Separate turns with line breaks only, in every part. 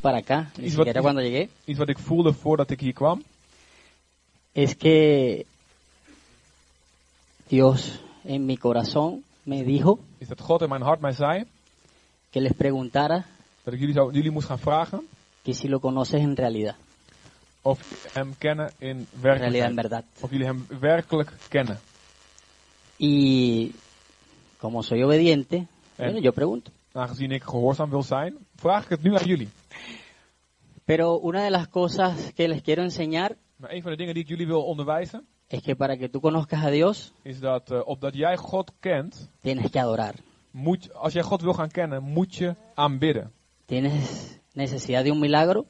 para acá, ni
Iets wat-
siquiera cuando llegué,
Iets wat ik voelde voordat ik hier kwam,
es que Dios en mi corazón me dijo
is dat God in mijn hart mij zei
que les preguntara
dat ik jullie, zou, jullie moest gaan vragen
que si lo conoces en realidad,
of jullie hem kennen in
en realidad en
werkelijkheid.
verdad.
Of jullie hem werkelijk kennen.
Y como soy obediente, bueno, yo pregunto.
Aangezien ik gehoorzaam wil zijn, vraag ik het nu aan jullie.
Pero una de las cosas que les quiero enseñar
Maar een van de dingen die ik jullie wil onderwijzen,
es que para que tú conozcas a Dios,
is dat eh, opdat jij God kent,
tienes que adorar.
moet, als jij God wil gaan kennen, moet je aanbidden.
Tienes necesidad de un milagro,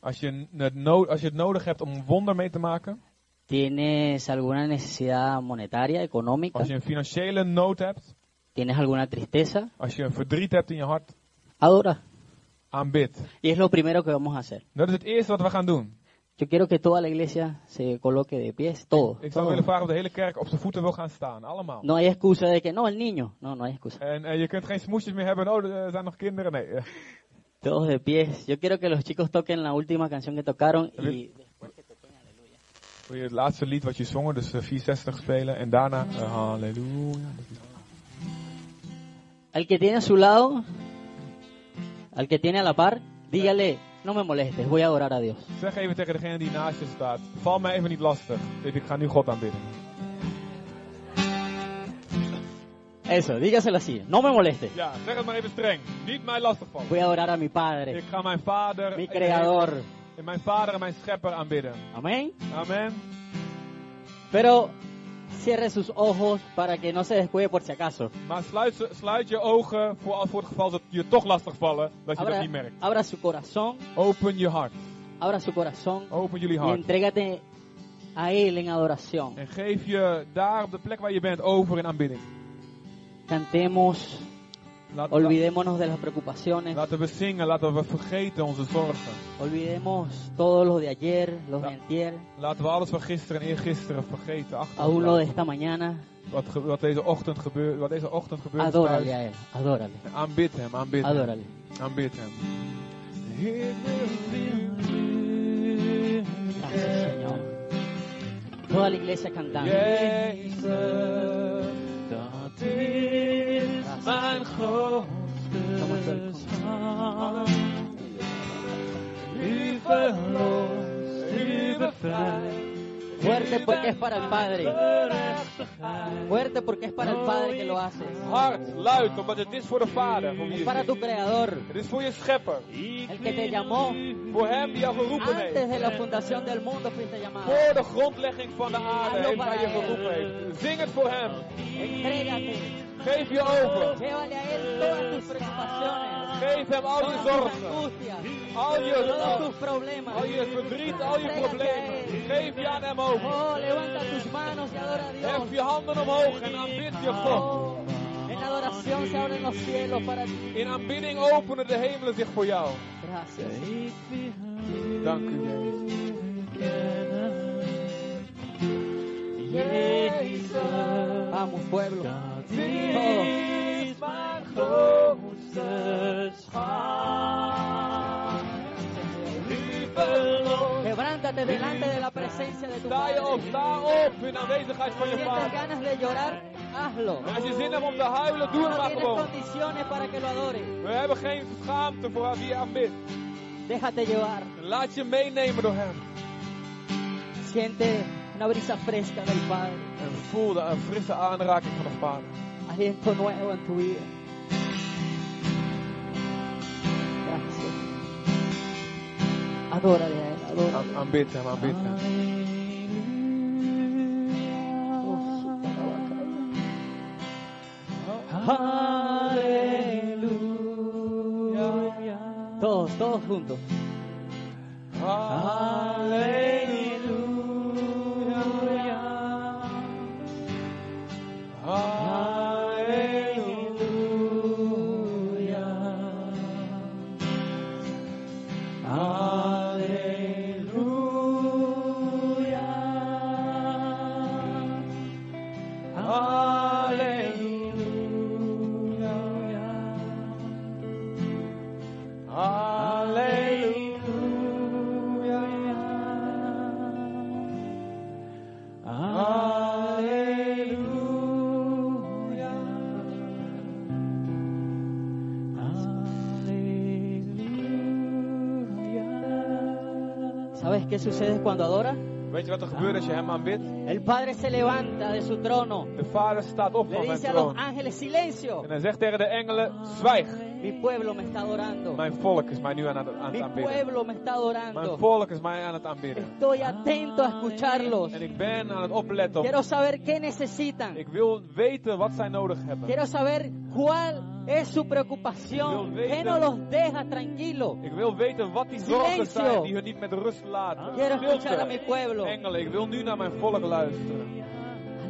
Als je, het no- als je het nodig hebt om een wonder mee te maken,
tienes alguna necesidad monetaria, económica,
als je een financiële nood hebt,
tienes alguna tristeza,
als je een verdriet hebt in je hart,
adora.
aanbid.
Y es lo primero que vamos a hacer.
Dat is het eerste wat we gaan doen.
Yo quiero que toda la iglesia se coloque de pies, todo.
Ik zou
todo.
willen vragen of Eh, de hele kerk op zijn voeten wil gaan staan, allemaal.
No hay excusa de que no, el niño. No, no hay excusa.
En eh, je kunt geen smoesjes meer hebben, oh, er eh, zijn nog kinderen. Nee, eh.
Todos de pies. Yo quiero que los chicos toquen la última canción que tocaron y
Wil je het laatste lied wat je zongen, dus eh, 64 spelen en daarna eh, halleluja. Dat is-
al que tiene a su lado, al que tiene a la par, dígale, no me molestes, voy a adorar a Dios.
Zeg even tegen degene die naast je staat, val mij even niet lastig. Ik ik ga nu God aanbidden.
Eso, dígaselo así, no me molestes,
Ja, zeg het maar even streng. Niet mij lastig vallen.
voy a adorar a mi
Ik
Padre,
ga mijn vader,
mi Creador.
en mijn vader en mijn schepper aanbidden.
Amén.
Amen.
Pero cierre sus ojos para que no se descuide por si acaso.
Maar sluit, ze- sluit je ogen voor, voor het geval dat je toch lastig vallen, dat je dat
Abra,
niet merkt.
abra su corazón,
Open je hart.
abra su corazón
Open jullie
y
hart.
entrégate a Él en adoración.
En geef je daar op de plek waar je bent over in aanbidding.
Cantemos,
Laat,
olvidémonos de las preocupaciones,
laten we zingen, laten we vergeten onze zorgen.
olvidemos todos los de ayer, los de antier,
Laten we alles van gisteren en eergisteren vergeten. Achter ons
aún lo de
laten.
esta mañana.
wat, ge- wat deze ochtend gebeurt, wat deze ochtend gebeurt. is
Adórale
thuis.
a Él, adórale,
En aanbid hem, aanbid hem.
adórale.
Aanbid hem.
Gracias, Señor. Toda la iglesia cantando.
Jezus, dat is mijn grootste schat. U verlost, u bevrijdt,
Fuerte porque es para el Padre.
gerechtigheid.
Fuerte porque es para el Padre que lo hace.
Hard, luid, omdat het is voor de Vader. Voor wie
Es
je
para
zingt.
tu Creador,
Het is voor je Schepper.
el que te llamó
Voor hem die jou geroepen
antes
heeft.
de la fundación del mundo fuiste llamado.
Voor de grondlegging van de aarde heeft hij je geroepen heeft. Zing het voor hem.
Entrégate,
Geef je over.
llévale a Él todas tus preocupaciones,
Geef hem al je
todas tus
zorgen.
angustias,
Al
todos
je,
tus problemas.
al je verdriet, al je problemen. Geef je aan hem over.
Oh, levanta tus manos y adora a Dios.
Hef je handen omhoog en aanbid je God.
Oh, en adoración se abren los cielos para ti.
In aanbidding openen de hemelen zich voor jou.
Gracias.
Dank u, Jezus.
Vamos, pueblo. Todos.
Dit is mijn grootste schat.
Quebrántate delante de la presencia de tu
Sta
Padre.
je op, sta op in aanwezigheid van
Si
je
tienes
vader.
ganas de llorar, hazlo.
En als je zin hebt om te huilen, doe het
No
maar
tienes
gewoon.
condiciones para que lo adores.
We hebben geen schaamte voor wie je aanbidt.
Déjate llevar.
Laat je meenemen door hem.
Siente una brisa fresca del Padre.
En voel de een frisse aanraking van de vader.
Aliento nuevo en tu vida. Gracias. Adórale a Él, adórale.
Aan- Aanbid hem, aanbid hem.
Oh, su tabaca. Todos, todos juntos.
Halleluja. Halleluja. Halleluja.
¿Sabes qué sucede cuando adora?
Weet je wat er gebeurt als je hem aanbidt?
El Padre se levanta de su trono.
De vader staat op
Le
van zijn
dice a los
troon.
ángeles, silencio.
En hij zegt tegen de engelen, zwijg.
Mi pueblo me está adorando.
Mijn volk is mij nu aan het, aan
Mi
het aanbidden.
pueblo me está
Mijn
adorando.
volk is mij aan het aanbidden.
Estoy atento a escucharlos.
En ik ben aan het opletten. op-
Quiero saber qué necesitan.
Ik wil weten wat zij nodig hebben.
Quiero saber cuál es su preocupación. ¿Qué no los deja tranquilos?
Ik wil weten wat die zorgen
Silencio.
zijn die hun niet met rust laten.
Quiero escuchar a mi
Stilte.
pueblo.
Engelen, ik wil nu naar mijn volk luisteren.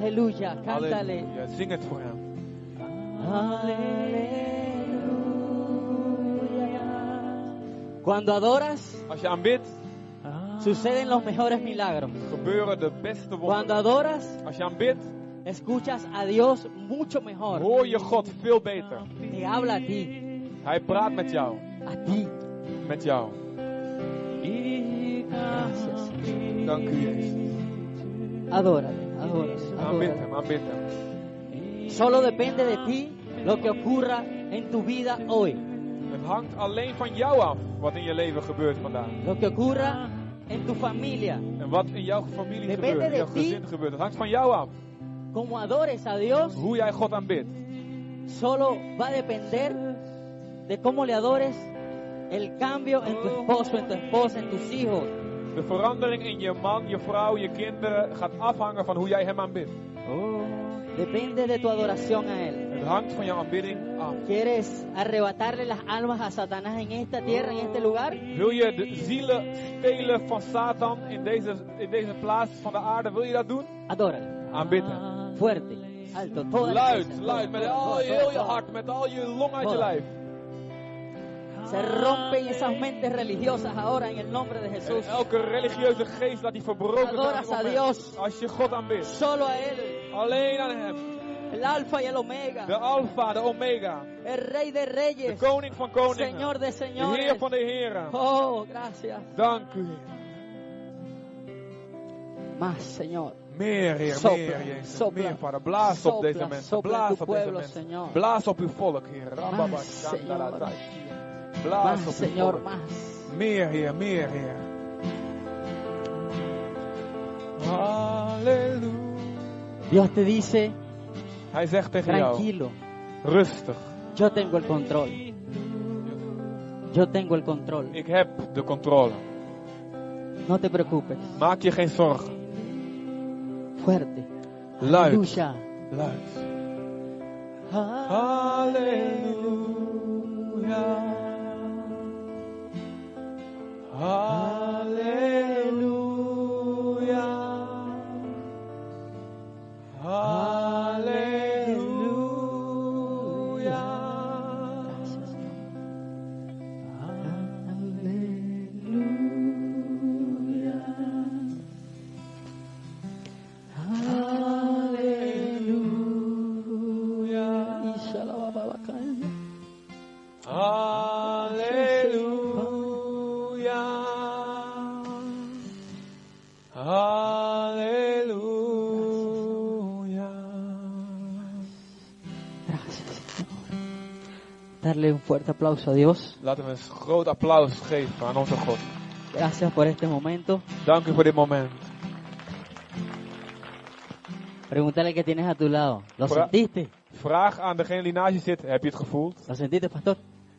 Aleluya, cántale.
Halleluja, zing het voor hem.
Aleluya. Cuando adoras,
Als je aanbidt,
suceden los mejores milagros.
gebeuren de beste
Cuando
wonderen.
adoras,
Als je aanbidt,
escuchas a Dios mucho mejor.
hoor je God veel beter.
Te habla a ti,
Hij praat met jou.
a ti.
Met jou.
Gracias.
Dank u, Jezus.
Adórale, adórale,
Aanbid
adórale.
hem, aanbid hem.
Solo depende de ti lo que ocurra en tu vida hoy.
Het hangt alleen van jou af wat in je leven gebeurt vandaag.
lo que ocurra en tu familia.
En wat in jouw familie
Depende
gebeurt, in
de
jouw
ti.
gezin gebeurt. Het hangt van jou af.
Como adores a Dios,
Hoe jij God aanbidt.
solo va a depender de cómo le adores el cambio en tu esposo, en tu esposa, en tus hijos.
De verandering in je man, je vrouw, je kinderen gaat afhangen van hoe jij hem aanbidt.
Depende de tu adoración a Él.
Het hangt van jouw aanbidding af.
¿Quieres arrebatarle las almas a Satanás en esta tierra, en este lugar?
Wil je de zielen stelen van Satan in deze, in deze plaats van de aarde? Wil je dat doen?
Adórale.
Aanbidden.
Fuerte, alto, toda la
Luid,
iglesia,
luid,
todo,
met
todo,
al je,
todo,
heel je
todo.
hart, met al je long uit je
Hoor.
lijf.
Se rompen esas mentes religiosas ahora en el nombre de
En
Jesús.
elke religieuze geest laat die verbroken
Adoras
worden op
a
dit
Dios.
moment. Als je God aanbidt.
Solo a Él,
Alleen aan hem.
el alfa y el omega,
De Alfa, de Omega.
el rey de
De
reyes,
koning van koningen.
Señor de
De Heer
señores.
van de heren.
Oh, gracias.
Dank u, Heer.
Más, Señor.
Meer, Heer,
Sopla,
meer, Jezus.
sopla.
Meer, Vader. Blaas op
Sopla,
deze mensen.
sopla
Blaas
tu
op deze
pueblo,
mensen.
Señor.
Blaas op uw volk, Heer. Rababa,
Más,
shandala,
Señor.
tai.
Más,
Blaas op uw
Señor,
volk.
más.
Meer, Heer, meer, Heer. Halleluja.
Dios te dice,
Hij zegt tegen jou,
tranquilo,
rustig.
yo tengo el control. Yo tengo el control.
Ik heb de controle.
No te preocupes.
Maak je geen zorgen.
Fuerte.
Luid,
Lucha.
luid.
Ah,
Halleluja. Halleluja. Halleluja.
gracias, Señor.
Halleluja. Halleluja.
Gracias, Señor. Darle un fuerte aplauso a Dios.
Laten we een groot applaus geven aan onze God.
Gracias por este momento.
Dank u voor dit moment.
Pregúntale qué tienes a tu lado. ¿Lo
Hola.
sentiste?
Vraag aan degene die naast je zit, heb je het gevoeld?
¿Lo sentiste, pastor?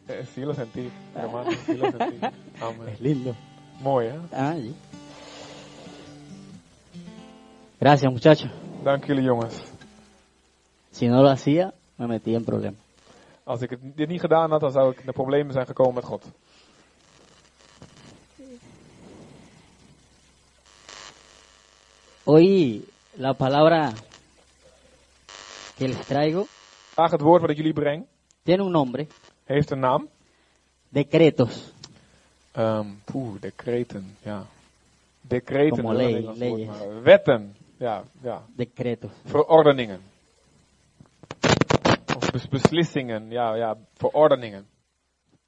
Eh, Sí lo sentí, hermano, sí lo sentí. Amen.
lindo.
Mooi hè?
Ah, sí. Gracias, muchachos.
Dank jullie jongens.
Si no lo hacía, me metía en problemas.
Als ik het- dit niet gedaan had, dan zou ik in de problemen zijn gekomen met God.
Hoy la palabra que les traigo
Vraag het woord wat ik jullie breng,
tiene un nombre,
heeft een naam.
decretos,
Ehm Poeh, decreten, ja. Decreten,
Como
is wel een
ley-
Nederlands woord,
leyes.
maar wetten, ja, ja.
decretos.
Verordeningen. Of bes- beslissingen, ja, ja, verordeningen.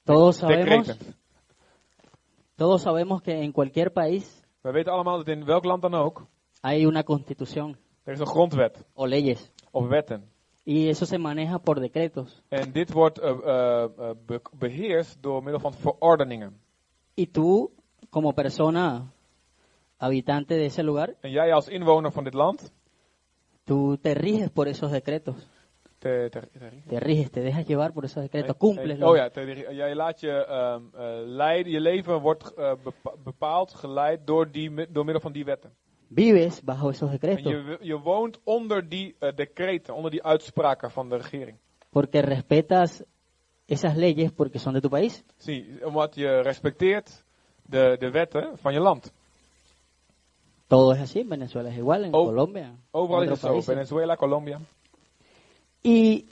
Todos sabemos,
Decreten.
todos sabemos que en cualquier país
We weten allemaal dat in welk land dan ook,
hay una constitución
er is een grondwet
o leyes
of wetten.
y eso se maneja por decretos.
En dit wordt eh, eh, eh, be- beheerst door middel van verordeningen.
Y tú, como persona habitante de ese lugar,
En jij als inwoner van dit land,
tú te riges por esos decretos.
te, te, te-
Te riges, te dejas llevar por esos decretos,
Eh,
cumples.
eh, oh ja, te- jij laat je ehm, eh, leiden, je leven wordt eh, bepa- bepaald, geleid door, die, mi- door middel van die wetten.
Vives bajo esos
En
decretos,
je, je woont onder die eh, decreten, onder die uitspraken van de regering.
porque respetas esas leyes porque son de tu país.
Zie, omdat je respecteert de, de wetten van je land.
Todo es así, en Venezuela es igual, en
Oh,
Colombia.
Overal is
en
het
otros
zo.
países.
Venezuela, Colombia.
Y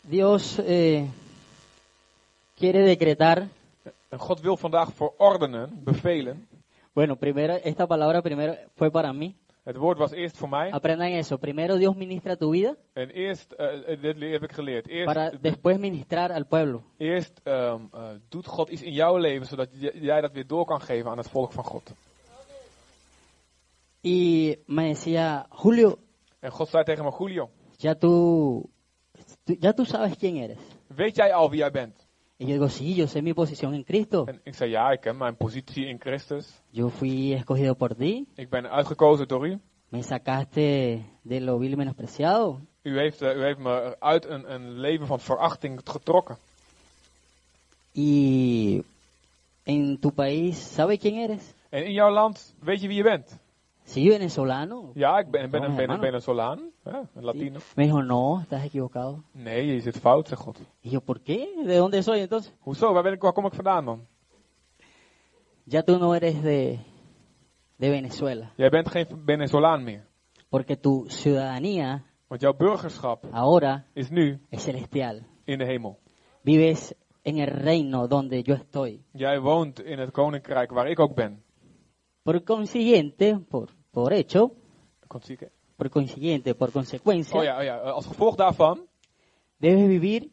Dios eh, quiere decretar,
En God wil vandaag verordenen, bevelen.
bueno, primero, esta palabra primero fue para mí.
Het woord was eerst voor mij.
Aprendan eso, primero Dios ministra tu vida
En eerst, eh, eh, dit heb ik geleerd.
para
Eerst,
después ministrar al pueblo.
eerst ehm, eh, doet God iets in jouw leven, zodat j- jij dat weer door kan geven aan het volk van God.
Y me decía, Julio,
En God zei tegen me, Julio,
ya tú, tú- ya tú sabes quién eres.
weet jij al wie jij bent?
Y yo digo, sí, yo sé mi posición en Cristo.
En ik zei, ja, ik ken mijn positie in Christus.
Yo fui escogido por ti,
Ik ben uitgekozen door u.
me sacaste de lo vil y menospreciado,
U heeft, eh, u heeft me uit een, een leven van verachting getrokken.
Y en tu país, ¿sabe quién eres?
En in jouw land weet je wie je bent.
Si yo venezolano.
Ja, ik ben, ik ben een
Oh,
ben,
man.
Venezolaan, ja, een Latino.
Me dijo, no, estás equivocado.
Nee, je zit fout, zegt God.
Y yo, ¿por qué? ¿De dónde soy entonces?
Hoezo, waar, ben ik, waar kom ik vandaan dan?
Ya tú no eres de, de Venezuela,
Jij bent geen Venezolaan meer.
porque tu ciudadanía
Want jouw burgerschap
ahora
is nu
es celestial.
in de hemel.
Vives en el reino donde yo estoy.
Jij woont in het koninkrijk waar ik ook ben.
Por consiguiente, por, por hecho,
Komt zie ik, hè?
por consiguiente, por consecuencia,
Oh ja, oh ja, eh, als gevolg daarvan
debes vivir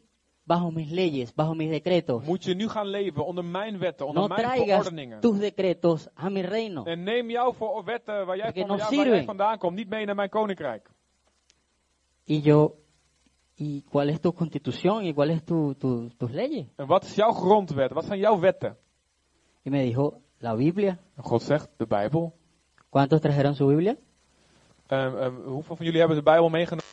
bajo mis leyes, bajo mis decretos.
moet je nu gaan leven onder mijn wetten, onder
No
mijn
traigas
verordeningen.
tus decretos a mi reino.
En neem jouw voor wetten waar jij,
Porque
van,
no
ja, waar jij
sirven.
vandaan komt niet mee naar mijn koninkrijk.
Y yo, ¿y cuál es tu constitución y cuáles tu, tu- tus leyes?
En wat is jouw grondwet? Wat zijn jouw wetten?
Y me dijo, la Biblia.
En God zegt, de Bijbel.
¿Cuántos trajeron su Biblia?
Ehm, ehm, hoeveel van jullie hebben de Bijbel meegenomen?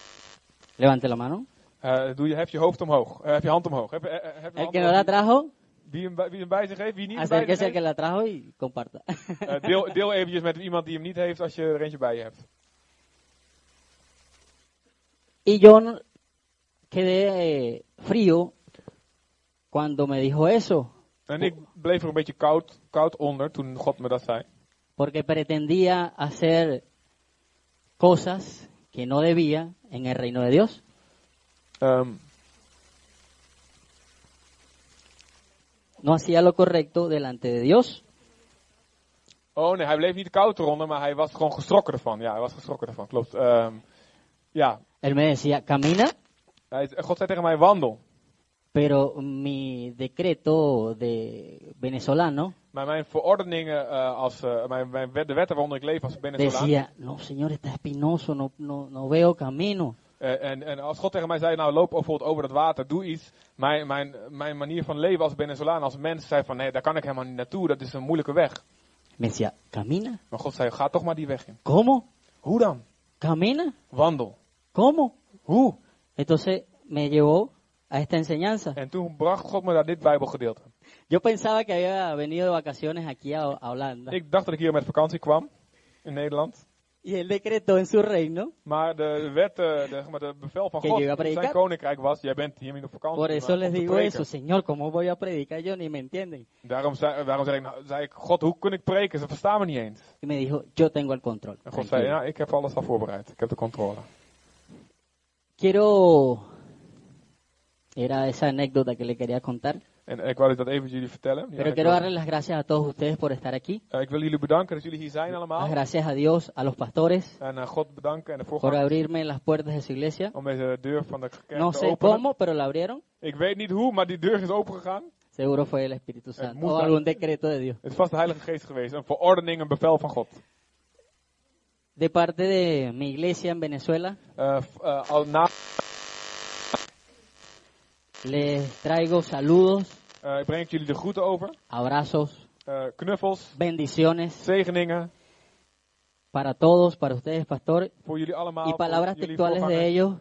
Levante la mano.
Eh, doe je, hef je hoofd omhoog. Eh, hef je hand omhoog. Hef, eh, eh, hef je
El
hand
que no la
omhoog.
trajo,
Wie hem, bij- wie hem bij zich heeft, wie niet bij zich
acérquese al que
heeft.
la trajo y comparta.
Eh, deel, deel eventjes met iemand die hem niet heeft als je er eentje bij je hebt.
y yo no- quedé eh, frío cuando me dijo eso,
En ik bleef er een beetje koud, koud onder toen God me dat zei.
porque pretendía hacer cosas que no debía en el reino de Dios.
Ehm,
No hacía lo correcto delante de Dios.
oh nee, hij bleef niet koud eronder, maar hij was gewoon geschrokken ervan. Ja, hij was geschrokken ervan, klopt. Ehm, ja,
Él me decía, camina,
Hij- God zei tegen mij, wandel.
pero mi decreto de venezolano
Maar mijn verordeningen, eh, als, eh, mijn, mijn wet- de wetten waaronder ik leef als Venezolaan.
decía, no señor, está espinoso, no, no, no veo camino.
eh, en, en als God tegen mij zei, nou loop bijvoorbeeld over dat water, doe iets. Mijn, mijn, mijn manier van leven als Venezolaan, als mens, zei van, nee, daar kan ik helemaal niet naartoe, dat is een moeilijke weg.
Me decía, camina,
Maar God zei, ga toch maar die weg in.
¿cómo?
Hoe dan?
¿Camina?
Wandel.
¿Cómo?
Hoe?
Entonces me llevó a esta enseñanza.
En toen bracht God me naar dit Bijbelgedeelte.
Yo pensaba que había venido de vacaciones aquí a, a Holanda.
Ik dacht dat ik hier met vakantie kwam, in Nederland.
Y él decretó en su reino,
Maar de wet, eh, de, zeg maar, de bevel van
Kijk,
God,
je gaat
in zijn
prediken.
koninkrijk was, jij bent hier niet op vakantie.
por
maar
eso
om
les
te
digo
preken.
eso, Señor, ¿cómo voy a predicar yo? Ni me entienden.
Daarom, zei, daarom zei, ik, nou, zei ik, God, hoe kun ik preken? Ze verstaan me niet eens.
Y me dijo, yo tengo el control.
En God zei,
Tranquilo.
ja, ik heb alles al voorbereid. Ik heb de controle.
Quiero... Era esa anécdota que le quería contar.
En ik wil dat even jullie vertellen. Ja,
Pero
ik,
quiero
wil,
darle las gracias a todos ustedes por estar aquí.
Eh, ik wil jullie bedanken dat jullie hier zijn
Las
allemaal.
gracias a Dios, a los pastores,
En eh, God bedanken en de
por
voorganger
abrirme las puertas de su iglesia.
om deze deur van de kerk
No
te
sé
openen.
cómo, pero la abrieron.
Ik weet niet hoe, maar die deur is opengegaan.
Seguro fue el Espíritu Santo
mundo-
o algún decreto de Dios.
Het is vast de Heilige Geest geweest. Een verordening, een bevel van God.
De parte de mi iglesia en Venezuela,
Eh, f- eh, al na,
les traigo saludos,
eh, breng ik jullie de groeten over.
abrazos,
Eh, knuffels,
bendiciones
zegeningen.
para todos, para ustedes, pastor,
Voor jullie allemaal.
y
voor
palabras
jullie
textuales de
voorgangers.
ellos.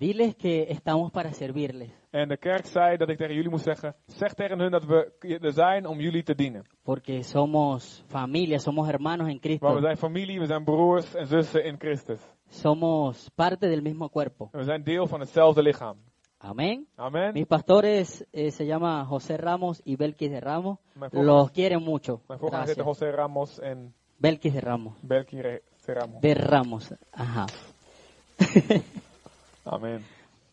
Diles que estamos para servirles,
En de kerk zei dat ik tegen jullie moest zeggen: zeg tegen hun dat we er zijn om jullie te dienen.
porque somos familia, somos hermanos en Cristo,
Want we zijn familie, we zijn broers en zussen in Christus.
somos parte del mismo cuerpo.
En we zijn deel van hetzelfde lichaam.
Amén.
Amen.
Mis pastores eh, se llama José Ramos y Belkis de Ramos.
Mijn voorganger,
Los quieren mucho.
mijn voorganger zitten
Gracias.
José Ramos en
Belkis de Ramos.
Belki Re- Ramos.
De Ramos. Ajá.
Amen.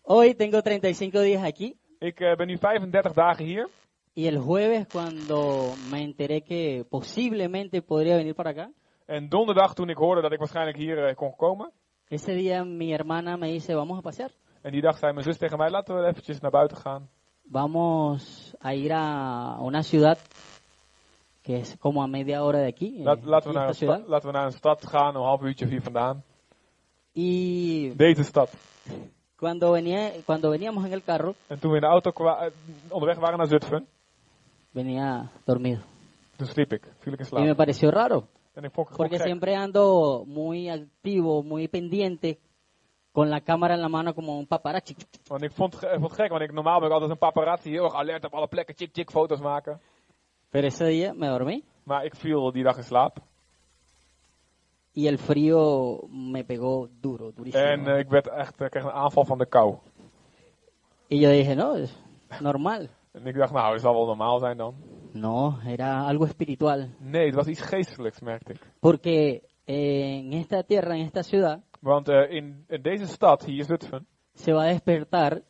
Hoy tengo 35 días aquí
Ik eh, ben nu 35 dagen hier.
y el jueves cuando me enteré que posiblemente podría venir para acá,
En donderdag, toen ik hoorde dat ik waarschijnlijk hier eh, kon komen.
ese día mi hermana me dice, vamos a pasear.
En die dag zei mijn zus tegen mij: laten we eventjes naar buiten gaan.
Vamos a ir a una ciudad que es como a media hora de aquí. eh,
Laat- laten,
aquí
we naar een
esta ciudad.
sta- laten we naar een stad gaan, een half uurtje of hier vandaan.
Y
Deze stad.
cuando, venía, cuando veníamos en el carro,
En toen we in de auto kwa- eh, onderweg waren naar Zutphen,
venía dormido.
toen sliep ik. Viel ik in
Y me
slaap.
pareció raro,
En ik vond het gewoon
porque
gek.
siempre ando muy activo, muy pendiente, con la cámara en la mano como un paparazzi.
Want ik vond, het ge- eh, vond het gek, want ik, normaal ben ik altijd een paparazzi, heel erg alert op alle plekken, chick chick foto's maken.
Pero ese día me dormí
Maar ik viel die dag in slaap.
y el frío me pegó duro, durísimo.
En eh, ik werd echt, eh, kreeg een aanval van de kou.
Y yo dije, no, es normal.
En ik dacht, nou, dat zal wel normaal zijn dan.
No, era algo espiritual.
Nee, het was iets geestelijks, merkte ik.
Porque eh, en esta tierra, en esta ciudad,
Want eh, in, in deze stad, hier Zutphen,
se va a despertar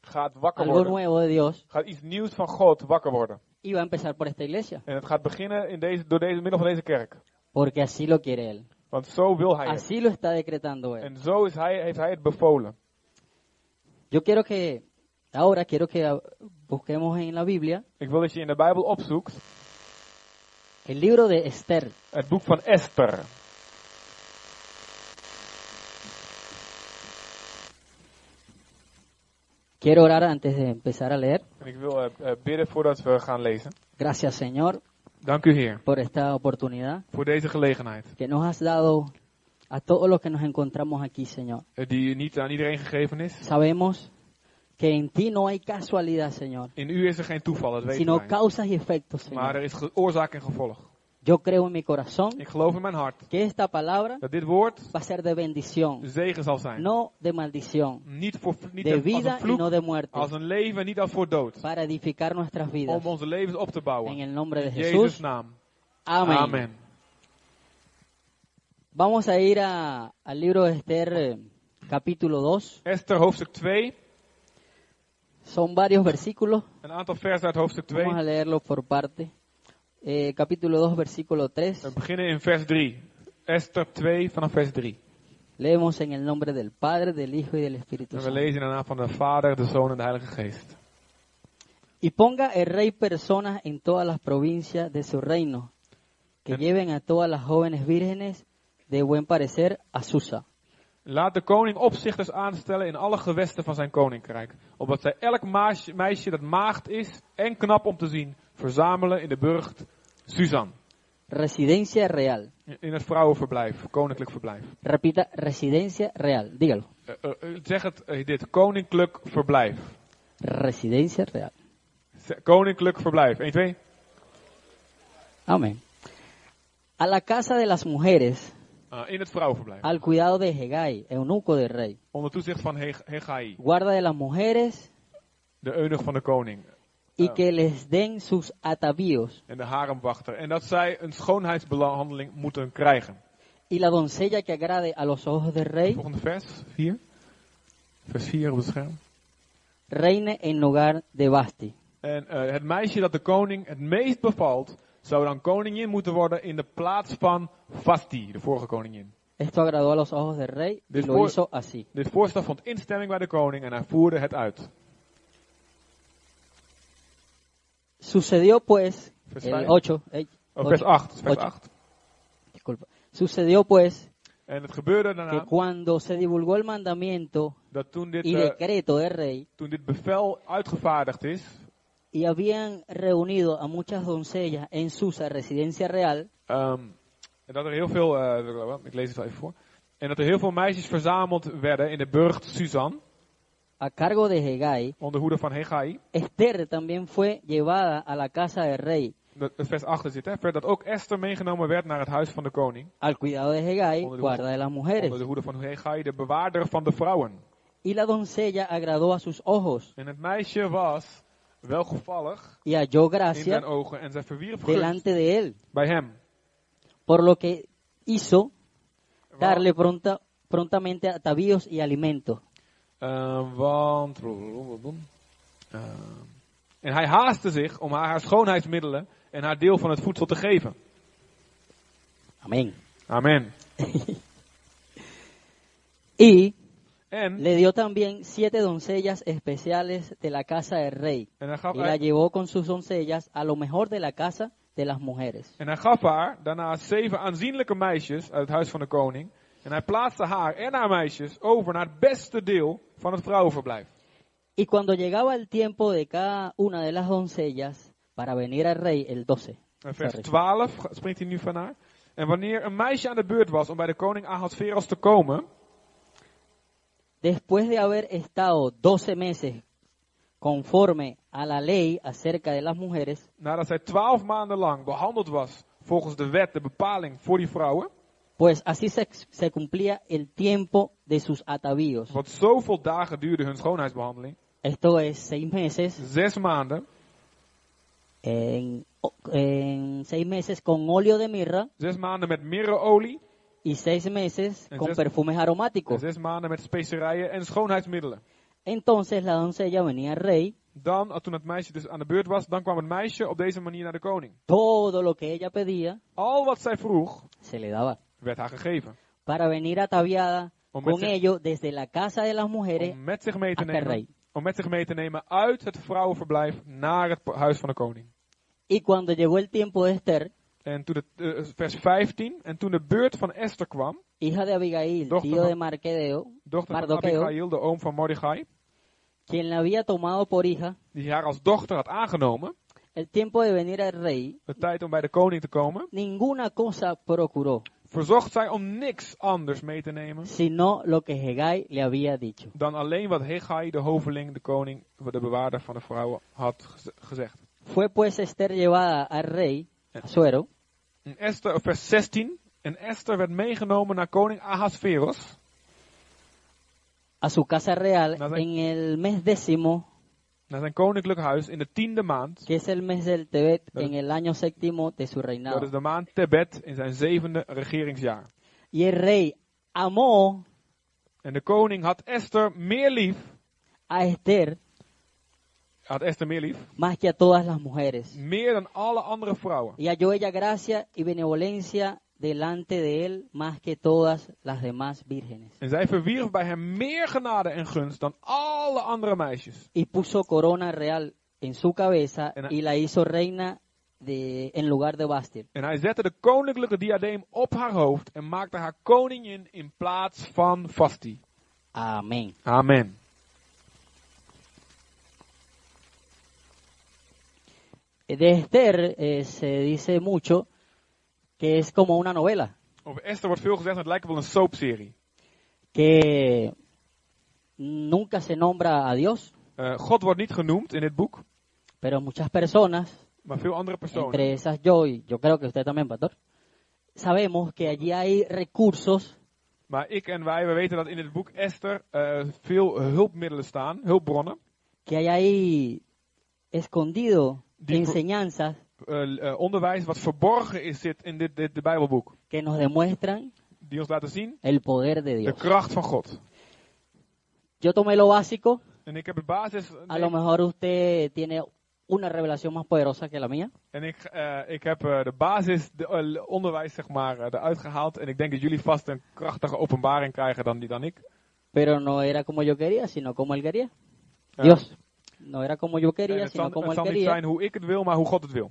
gaat wakker
algo
worden.
nuevo de Dios
Gaat iets nieuws van God wakker worden.
y va a empezar por esta iglesia.
En het gaat beginnen in deze, door deze, middel van deze kerk.
Porque así lo quiere Él.
Want zo wil hij het.
Así lo está decretando Él.
En zo is hij, heeft hij het bevolen.
Yo quiero que, ahora quiero que ah, busquemos en la Biblia
Ik wil dat je in de Bijbel opzoekt
el libro de Esther.
het boek van Esther.
Quiero orar antes de empezar a leer.
En ik wil eh, eh, bidden voordat we gaan lezen.
Gracias Señor
Dank u Heer
por esta oportunidad
voor deze gelegenheid.
que nos has dado a todos los que nos encontramos aquí, Señor.
eh, Die niet aan iedereen gegeven is.
Sabemos que en ti no hay casualidad, Señor,
In u is er geen toeval, dat weten
sino
wij.
causas y efectos,
Maar er
Señor.
is ge- oorzaak en gevolg.
Yo creo en mi corazón
Ik geloof in mijn hart
que esta palabra
dat dit woord
va a ser de bendición,
de zegen zal zijn.
no de maldición,
Niet, voor, niet
de
als een
vida y no
vloek,
de muerte,
als een leven, niet als voor dood.
para edificar nuestras vidas.
Om onze levens op te
En
bouwen.
el nombre de
In Jezus'
Jesús.
naam.
Amén.
Amen.
Vamos a ir a- al libro de Esther, eh, capítulo 2.
Esther hoofdstuk 2.
Son varios versículos.
Een aantal versen uit hoofdstuk 2.
Vamos a leerlo por parte. Eh, capítulo 2, versículo 3.
We beginnen in vers 3. Esther 2 vanaf vers 3.
Leemos en el nombre del Padre, del Hijo y del Espíritu
En we
Santo.
lezen in de naam van de Vader, de Zoon en de Heilige Geest.
Y ponga el rey personas en todas las provincias de su reino, que
En-
lleven a todas las jóvenes vírgenes de buen parecer a Susa.
Laat de koning opzichters aanstellen in alle gewesten van zijn koninkrijk, opdat zij elk maas- meisje dat maagd is en knap om te zien, verzamelen in de burcht Suzanne,
Residencia real.
in het vrouwenverblijf, koninklijk verblijf.
Repita, residencia real. Dígalo.
Eh, eh, eh, zeg het eh, dit, koninklijk verblijf.
Residencia real.
Z- Koninklijk verblijf, 1, 2.
Amén. A la casa de las mujeres,
Ah, in het vrouwenverblijf,
al cuidado de Hegai, eunuco del rey,
onder toezicht van Heg- Hegai,
guarda de las mujeres,
de eunuch van de koning
y
Ah.
que les den sus atavíos,
en de haremwachter, en dat zij een schoonheidsbehandeling moeten krijgen.
y la doncella que agrade a los ojos del rey,
Volgende vers, 4. Vers 4 op het scherm.
reine en lugar de Basti.
En eh, het meisje dat de koning het meest bevalt, zou dan koningin moeten worden in de plaats van Vasti, de vorige koningin.
Esto agradó a los ojos del rey y lo
Después-
hizo así.
Dit voorstel vond instemming bij de koning en hij voerde het uit. Oh,
Sucedió pues,
Vers
el
vijf.
8, ey,
Oh,
Ocho.
vers 8. Vers
Ocho.
8.
disculpa. Sucedió pues
En het gebeurde
que
daarna
cuando se divulgó el mandamiento
dat toen dit,
y
eh,
decreto del rey,
toen dit bevel uitgevaardigd is,
y habían reunido a muchas doncellas en Susa, residencia real,
ehm, En dat er heel veel, eh, ik lees het wel even voor. En dat er heel veel meisjes verzameld werden in de burcht Susan,
a cargo de Hegai,
onder hoede van Hegai.
Esther también fue llevada a la casa del rey,
Dat, dat vers 8 zit, hè. Ver dat ook Esther meegenomen werd naar het huis van de koning.
al cuidado de Hegai,
Onder de
guarda de las mujeres.
Onder de hoede van Hegai, de bewaarder van de vrouwen.
Y la doncella agradó a sus ojos
En het meisje was welgevallig
y halló
in zijn
gracia
ogen en zij verwierp gunst
delante de él,
bij hem.
por lo que hizo
Wa-
darle pronta, prontamente atavíos y alimentos.
Eh, want. Eh, en hij haastte zich om haar, haar schoonheidsmiddelen en haar deel van het voedsel te geven.
Amén.
Amen.
Y
En,
le dio también siete doncellas especiales de la casa del rey,
en, hij gaf,
y la
hij,
llevó con sus doncellas a lo mejor de la casa de las mujeres.
en hij gaf haar daarna zeven aanzienlijke meisjes uit het huis van de koning. En hij plaatste haar en haar meisjes over naar het beste deel van het vrouwenverblijf. Eh,
Y cuando llegaba el tiempo de cada una de las doncellas para venir al rey, el 12.
En vers
Sorry.
12 ga- springt hij nu van haar. En wanneer een meisje aan de beurt was om bij de koning Ahasveros te komen,
Después de haber estado 12 meses conforme a la ley acerca de las mujeres,
nadat zij twaalf maanden lang behandeld was volgens de wet, de bepaling voor die vrouwen,
pues así se, se cumplía el tiempo de sus atavíos.
Wat zoveel dagen duurde hun schoonheidsbehandeling.
Esto es seis meses,
Zes maanden.
en, en seis meses con óleo de mirra
Zes maanden met mirreolie.
y seis meses con
Entonces-
perfumes
En
aromáticos.
zes maanden met specerijen en schoonheidsmiddelen.
Entonces la doncella venía al rey,
Dan, eh, toen het meisje dus aan de beurt was, dan kwam het meisje op deze manier naar de koning.
todo lo que ella pedía
Al wat zij vroeg,
se le daba.
werd haar gegeven.
para venir ataviada
Om met
con
zich-
ello desde la casa de las mujeres
Om met zich mee te
hasta el rey.
nemen. Om met zich mee te nemen uit het vrouwenverblijf naar het p- huis van de koning.
Y cuando llegó el tiempo de Esther,
En toen het, eh, vers 15. En toen de beurt van Esther kwam,
hija de Abigail,
Dochter
tío
van-
de Marquedeo,
dochter van
Mardocheo.
Abigail, de oom van Mordechai,
quien la había tomado por hija,
die haar als dochter had aangenomen,
el tiempo de venir al rey,
de tijd om bij de koning te komen,
ninguna cosa procuró,
verzocht zij om niks anders mee te nemen
sino lo que Hegai le había dicho.
dan alleen wat Hegai, de hoveling, de koning, de bewaarder van de vrouwen, had gez- gezegd.
Fue pues Esther llevada al rey, Asuero,
En Esther, op vers 16, en Esther werd meegenomen naar koning Ahasveros,
a su casa real
Nada.
en el mes décimo,
naar zijn koninklijk huis in de tiende maand.
que es el mes del Tebet,
Nada.
en el año séptimo de su
Dat is
reinado.
de maand Tebet in zijn zevende regeringsjaar.
Y el rey amó
En de koning had Esther meer lief,
a Esther
had Esther meer lief,
más que a todas las mujeres.
meer dan alle andere vrouwen.
Y halló ella gracia y benevolencia delante de él más que todas las demás vírgenes.
En zij verwierf bij hem meer genade en gunst dan alle andere meisjes.
Y puso corona real en su cabeza
En-
y la hizo reina de, en lugar de Basti.
En hij zette de koninklijke diadeem op haar hoofd en maakte haar koningin in plaats van Vasti.
Amén.
Amen.
De Esther eh, se dice mucho que es como una novela,
Over Esther wordt veel gezegd, maar het lijkt wel een soapserie.
que nunca se nombra a Dios,
Eh, God wordt niet genoemd in dit boek,
pero muchas personas
maar veel andere personen.
entre esas yo y yo creo que usted también, pastor, sabemos que allí hay recursos
Maar ik en wij, we weten dat in het boek Esther eh, veel hulpmiddelen staan, hulpbronnen,
que hay ahí escondido
Die-
enseñanzas
eh, eh, onderwijs wat verborgen is zit in dit, dit de Bijbelboek.
que nos demuestran
Die ons laten zien
el poder de
de
Dios.
kracht van God.
Yo tomé lo básico,
En ik heb de basis,
a lo mejor usted tiene una revelación más poderosa que la mía,
en ik, eh, ik heb eh, de basis, de, eh, onderwijs zeg maar, eh, eruit gehaald. En ik denk dat jullie vast een krachtige openbaring krijgen dan, die, dan ik.
pero no era como yo quería, sino como él quería.
Eh,
Dios, no era como yo
en
quería,
het zal,
sino como
het
él
zal niet zijn
quería.
hoe ik het wil, maar hoe God het wil.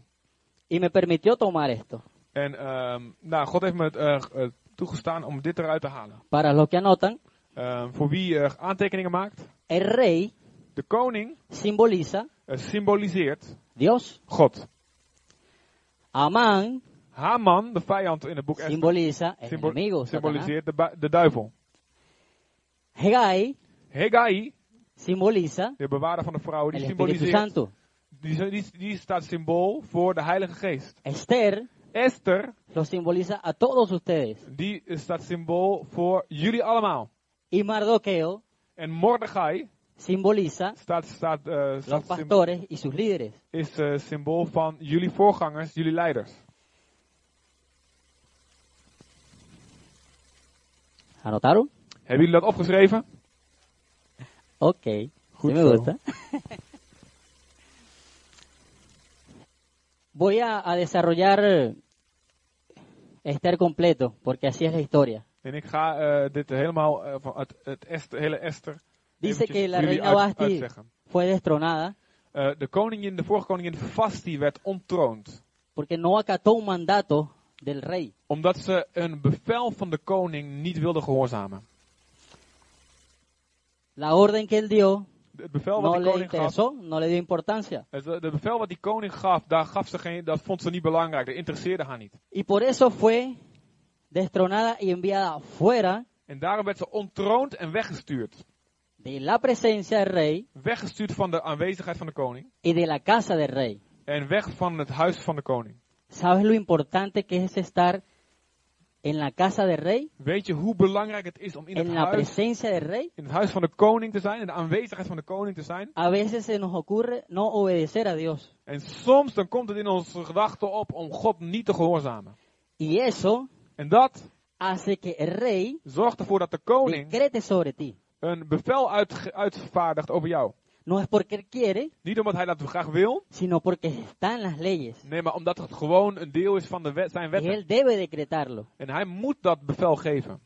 Y me permitió tomar esto.
En ehm, nou, God heeft me het, eh, eh, toegestaan om dit eruit te halen.
Para los que anotan,
Ehm, voor wie eh, aantekeningen maakt.
el rey
De koning
simboliza
eh, symboliseert
Dios,
God.
Amán
Haman, de vijand in het boek Esther,
simboliza el
symbol-
enemigo. Satanás.
symboliseert de, bu- de duivel.
Hegai
Haggai,
simboliza
de bewaarder van de vrouwen, die
el Espíritu
symboliseert,
Santo.
die, die, die staat symbool voor de Heilige Geest.
Esther
Esther,
lo simboliza a todos ustedes.
die eh, staat symbool voor jullie allemaal.
Y Mardoqueo
En Mordechai
simboliza
staat, staat, eh,
los
staat symbool
pastores y sus líderes.
is eh, symbool van jullie voorgangers, jullie leiders.
¿Anotaron?
Hebben jullie dat opgeschreven?
Ok. sí
Goed
me
zo.
gusta. Voy a, a desarrollar eh, Esther completo, porque así es la historia.
En ik ga eh, dit helemaal, eh, van het, het Esther, hele Esther,
Dice
eventjes
que la
voor jullie
reina
uit-
Basti
uitzeggen.
fue destronada
Eh, de koningin, de vorige koningin Vasti werd ontroond.
porque no acató un mandato del rey.
Omdat ze een bevel van de koning niet wilde gehoorzamen.
La orden que él dio
Het bevel wat
no
die
le
koning gaf,
interesó, no le dio importancia.
het, eh, de bevel wat die koning gaf, daar gaf ze geen, dat vond ze niet belangrijk. Dat interesseerde haar niet.
Y por eso fue destronada y enviada fuera
En daarom werd ze ontroond en weggestuurd.
de la presencia del rey
Weggestuurd van de aanwezigheid van de koning.
y de la casa del rey.
En weg van het huis van de koning.
¿Sabes lo importante que es estar en la casa del rey?
Weet je hoe belangrijk het is om in het,
En la
huis,
presencia del rey.
in het huis van de koning te zijn, in de aanwezigheid van de koning te zijn?
A veces se nos ocurre no obedecer a Dios.
En soms dan komt het in onze gedachten op om God niet te gehoorzamen.
Y eso
En dat
hace que el rey
zorgt ervoor dat de koning
decrete sobre ti.
een bevel uitge- uitvaardigt over jou.
No es porque él quiere,
Niet omdat hij dat graag wil,
sino porque está en las leyes.
nee, maar omdat het gewoon een deel is van de wet, zijn
Y
wetten.
él debe decretarlo.
En hij moet dat bevel geven.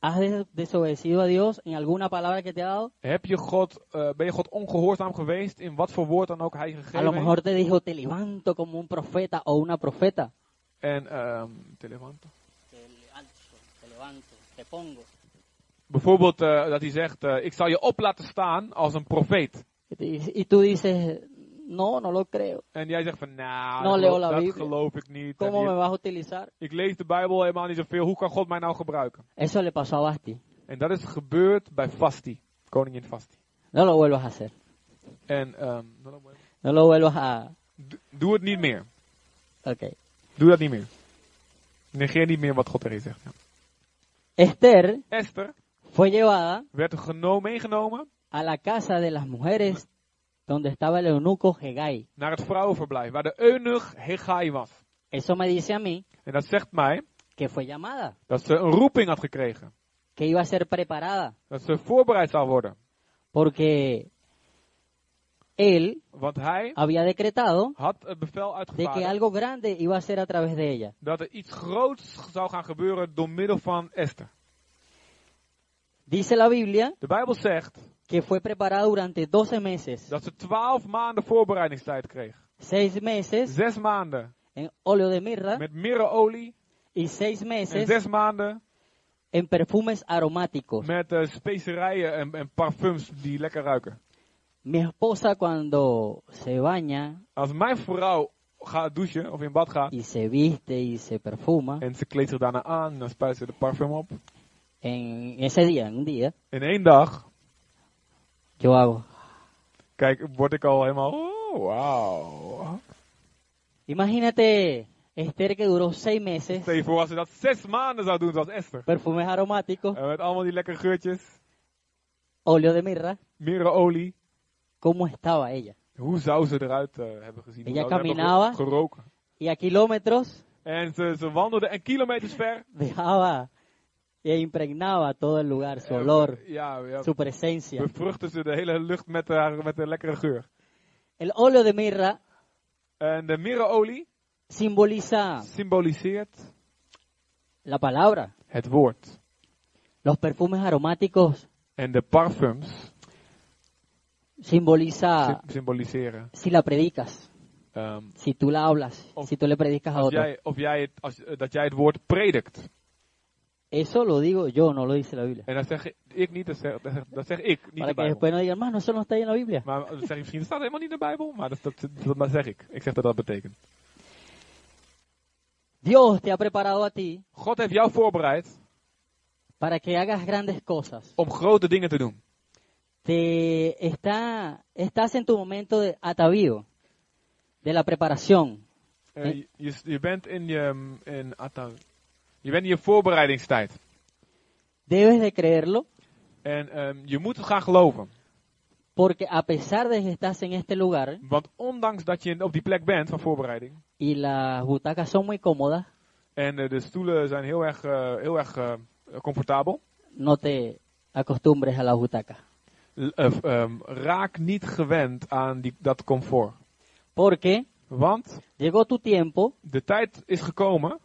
¿Has des- desobedecido a Dios en alguna palabra que te ha dado?
Heb je God, eh, ben je God ongehoorzaam geweest in wat voor woord dan ook hij
A lo
gegeven heeft?
mejor te dijo, te levanto como un profeta o una profeta.
En, ehm, telefoon.
Te levanto, te levanto, te pongo.
Bijvoorbeeld eh, dat hij zegt, eh, ik zal je op laten staan als een profeet.
Y te dice- Y tú dices, no, no lo creo.
En jij zegt van, nou,
Nou,
dat,
Leo,
geloof-
la
dat
Biblia.
geloof ik niet. En
¿Cómo
hier-
me vas a utilizar?
ik lees de Bijbel helemaal niet zoveel, hoe kan God mij nou gebruiken?
Eso le pasó a Basti.
En dat is gebeurd bij Vasti, koningin Vasti.
No lo vuelvas a hacer.
En ehm,
No lo vuelvas a...
d- doe het niet meer.
Ok.
Doe dat niet meer. Negeer niet meer wat God erin zegt. ja.
Esther
Esther
fue llevada
werd geno- meegenomen
a la casa de las mujeres donde estaba el eunuco Hegai.
naar het vrouwenverblijf, waar de eunuch Hegai was.
Eso me dice a mí
En dat zegt mij
que fue llamada,
dat ze een roeping had gekregen.
que iba a ser preparada,
Dat ze voorbereid zou worden.
porque él
Want hij
había decretado
had het bevel
de que
uitgevaardigd
algo grande iba a ser a través de ella.
dat er iets groots zou gaan gebeuren door middel van Esther.
Dice la Biblia
De Bijbel zegt
que fue preparada durante 12 meses,
dat ze twaalf maanden voorbereidingstijd kreeg.
6 meses
Zes maanden
en óleo de mirra
met mirreolie
y 6
en
meses
zes maanden
en perfumes aromáticos.
met eh, specerijen en, en parfums die lekker ruiken.
Mi esposa cuando se baña
Als mijn vrouw gaat douchen of in bad gaat
y se viste y se perfuma,
en ze kleedt zich daarna aan en dan spuit ze de parfum op.
en ese día, en un día,
In één dag,
yo hago.
kijk, word ik al helemaal, oh, wauw.
Imagínate Esther que duró seis meses,
Stel je voor als ze dat zes maanden zou doen zoals Esther.
perfumes aromáticos,
En met allemaal die lekkere geurtjes,
óleo de mirra,
mirreolie.
¿cómo estaba ella?
Hoe zou ze eruit eh, hebben gezien? Hoe
Ella
zou ze hebben
caminaba.
ge- geroken.
Y a kilómetros
En ze, ze wandelde en kilometers ver.
dejaba e impregnaba todo el lugar, su olor,
Eh, Ja, ja.
su presencia.
Bevruchten ze de hele lucht met, haar met een lekkere geur.
El óleo de mirra
En de mirreolie
simboliza
symboliseert
la palabra.
het woord.
Los perfumes aromáticos
En de parfums
simboliza
sy- symboliseren.
si la predicas.
ehm,
si tú la hablas,
Of-
si tú le predicas a
of
otro.
jij, of jij het, als, eh, dat jij het woord predikt.
Eso lo digo yo, no lo dice la Biblia.
En dat zeg ik niet, dat zeg, dat zeg, dat zeg ik, niet
Para que
de Bijbel.
después no digan, hermano, eso no está ahí en la Biblia.
Maar dat zeg ik misschien, dat staat helemaal niet in de Bijbel, maar dat, dat, dat, dat zeg ik. Ik zeg dat dat betekent.
Dios te ha preparado a ti
God heeft jou voorbereid
para que hagas grandes cosas.
om grote dingen te doen.
Te está, estás en tu momento de atavío, de la preparación.
Eh, je- je, je bent in je, ehm, in, atta- je bent in je voorbereidingstijd.
Debes de creerlo
En ehm, je moet het gaan geloven.
porque a pesar de que estás en este lugar
Want ondanks dat je op die plek bent van voorbereiding.
y las butacas son muy cómodas,
En eh, de stoelen zijn heel erg, eh, heel erg eh, comfortabel.
no te acostumbres a las butacas.
L- eh, ehm, raak niet gewend aan die, dat comfort.
Porque
Want
llegó tu tiempo
de tijd is gekomen.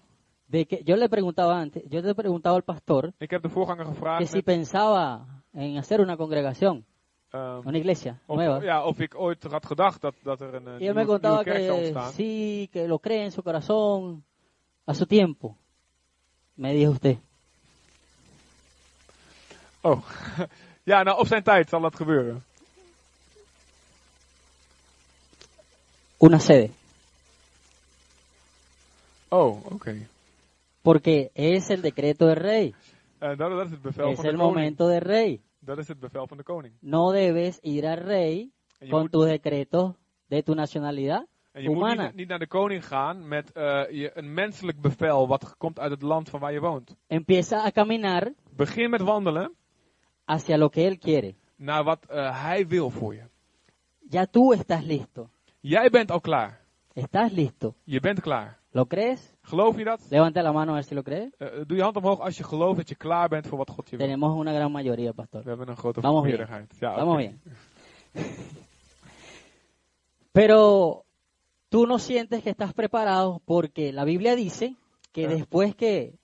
de que yo le preguntaba antes, yo le preguntaba al pastor
Ik heb de voorganger
que
gevraagd
si
met,
pensaba en hacer una congregación,
ehm,
una iglesia nueva.
of, ja, of ik ooit had gedacht dat, dat er een
Y
eh,
él
nieuwe,
me
nieuwe
contaba
kerk zou
que
ontstaan.
sí, que lo cree en su corazón a su tiempo. Me dijo usted.
Oh, ja, nou op zijn tijd zal dat gebeuren.
Una sede.
Oh, oké.
Porque es el decreto del rey.
Eh, dat, dat is het bevel
Es
van de
el
koning.
momento del rey.
Dat is het bevel van de koning.
No debes ir al rey
En je
con
moet-
tus decretos de tu nacionalidad
En je moet
humana.
niet, niet naar de koning gaan met eh, je, een menselijk bevel wat komt uit het land van waar je woont.
Empieza a caminar
Begin met wandelen
hacia lo que él quiere.
naar wat eh, hij wil voor je.
Ya tú estás listo.
Jij bent al klaar.
Estás listo.
Je bent klaar.
¿Lo crees?
Geloof je dat?
Levanta la mano a ver si lo crees.
Eh, doe je hand omhoog als je gelooft dat je klaar bent voor wat God je wil.
Tenemos una gran mayoría,
We
pastor.
hebben een grote
Vamos bien.
meerderheid. Ja,
Vamos
oké.
bien. Pero tú no sientes que estás preparado porque la Biblia dice que
Ah.
después que,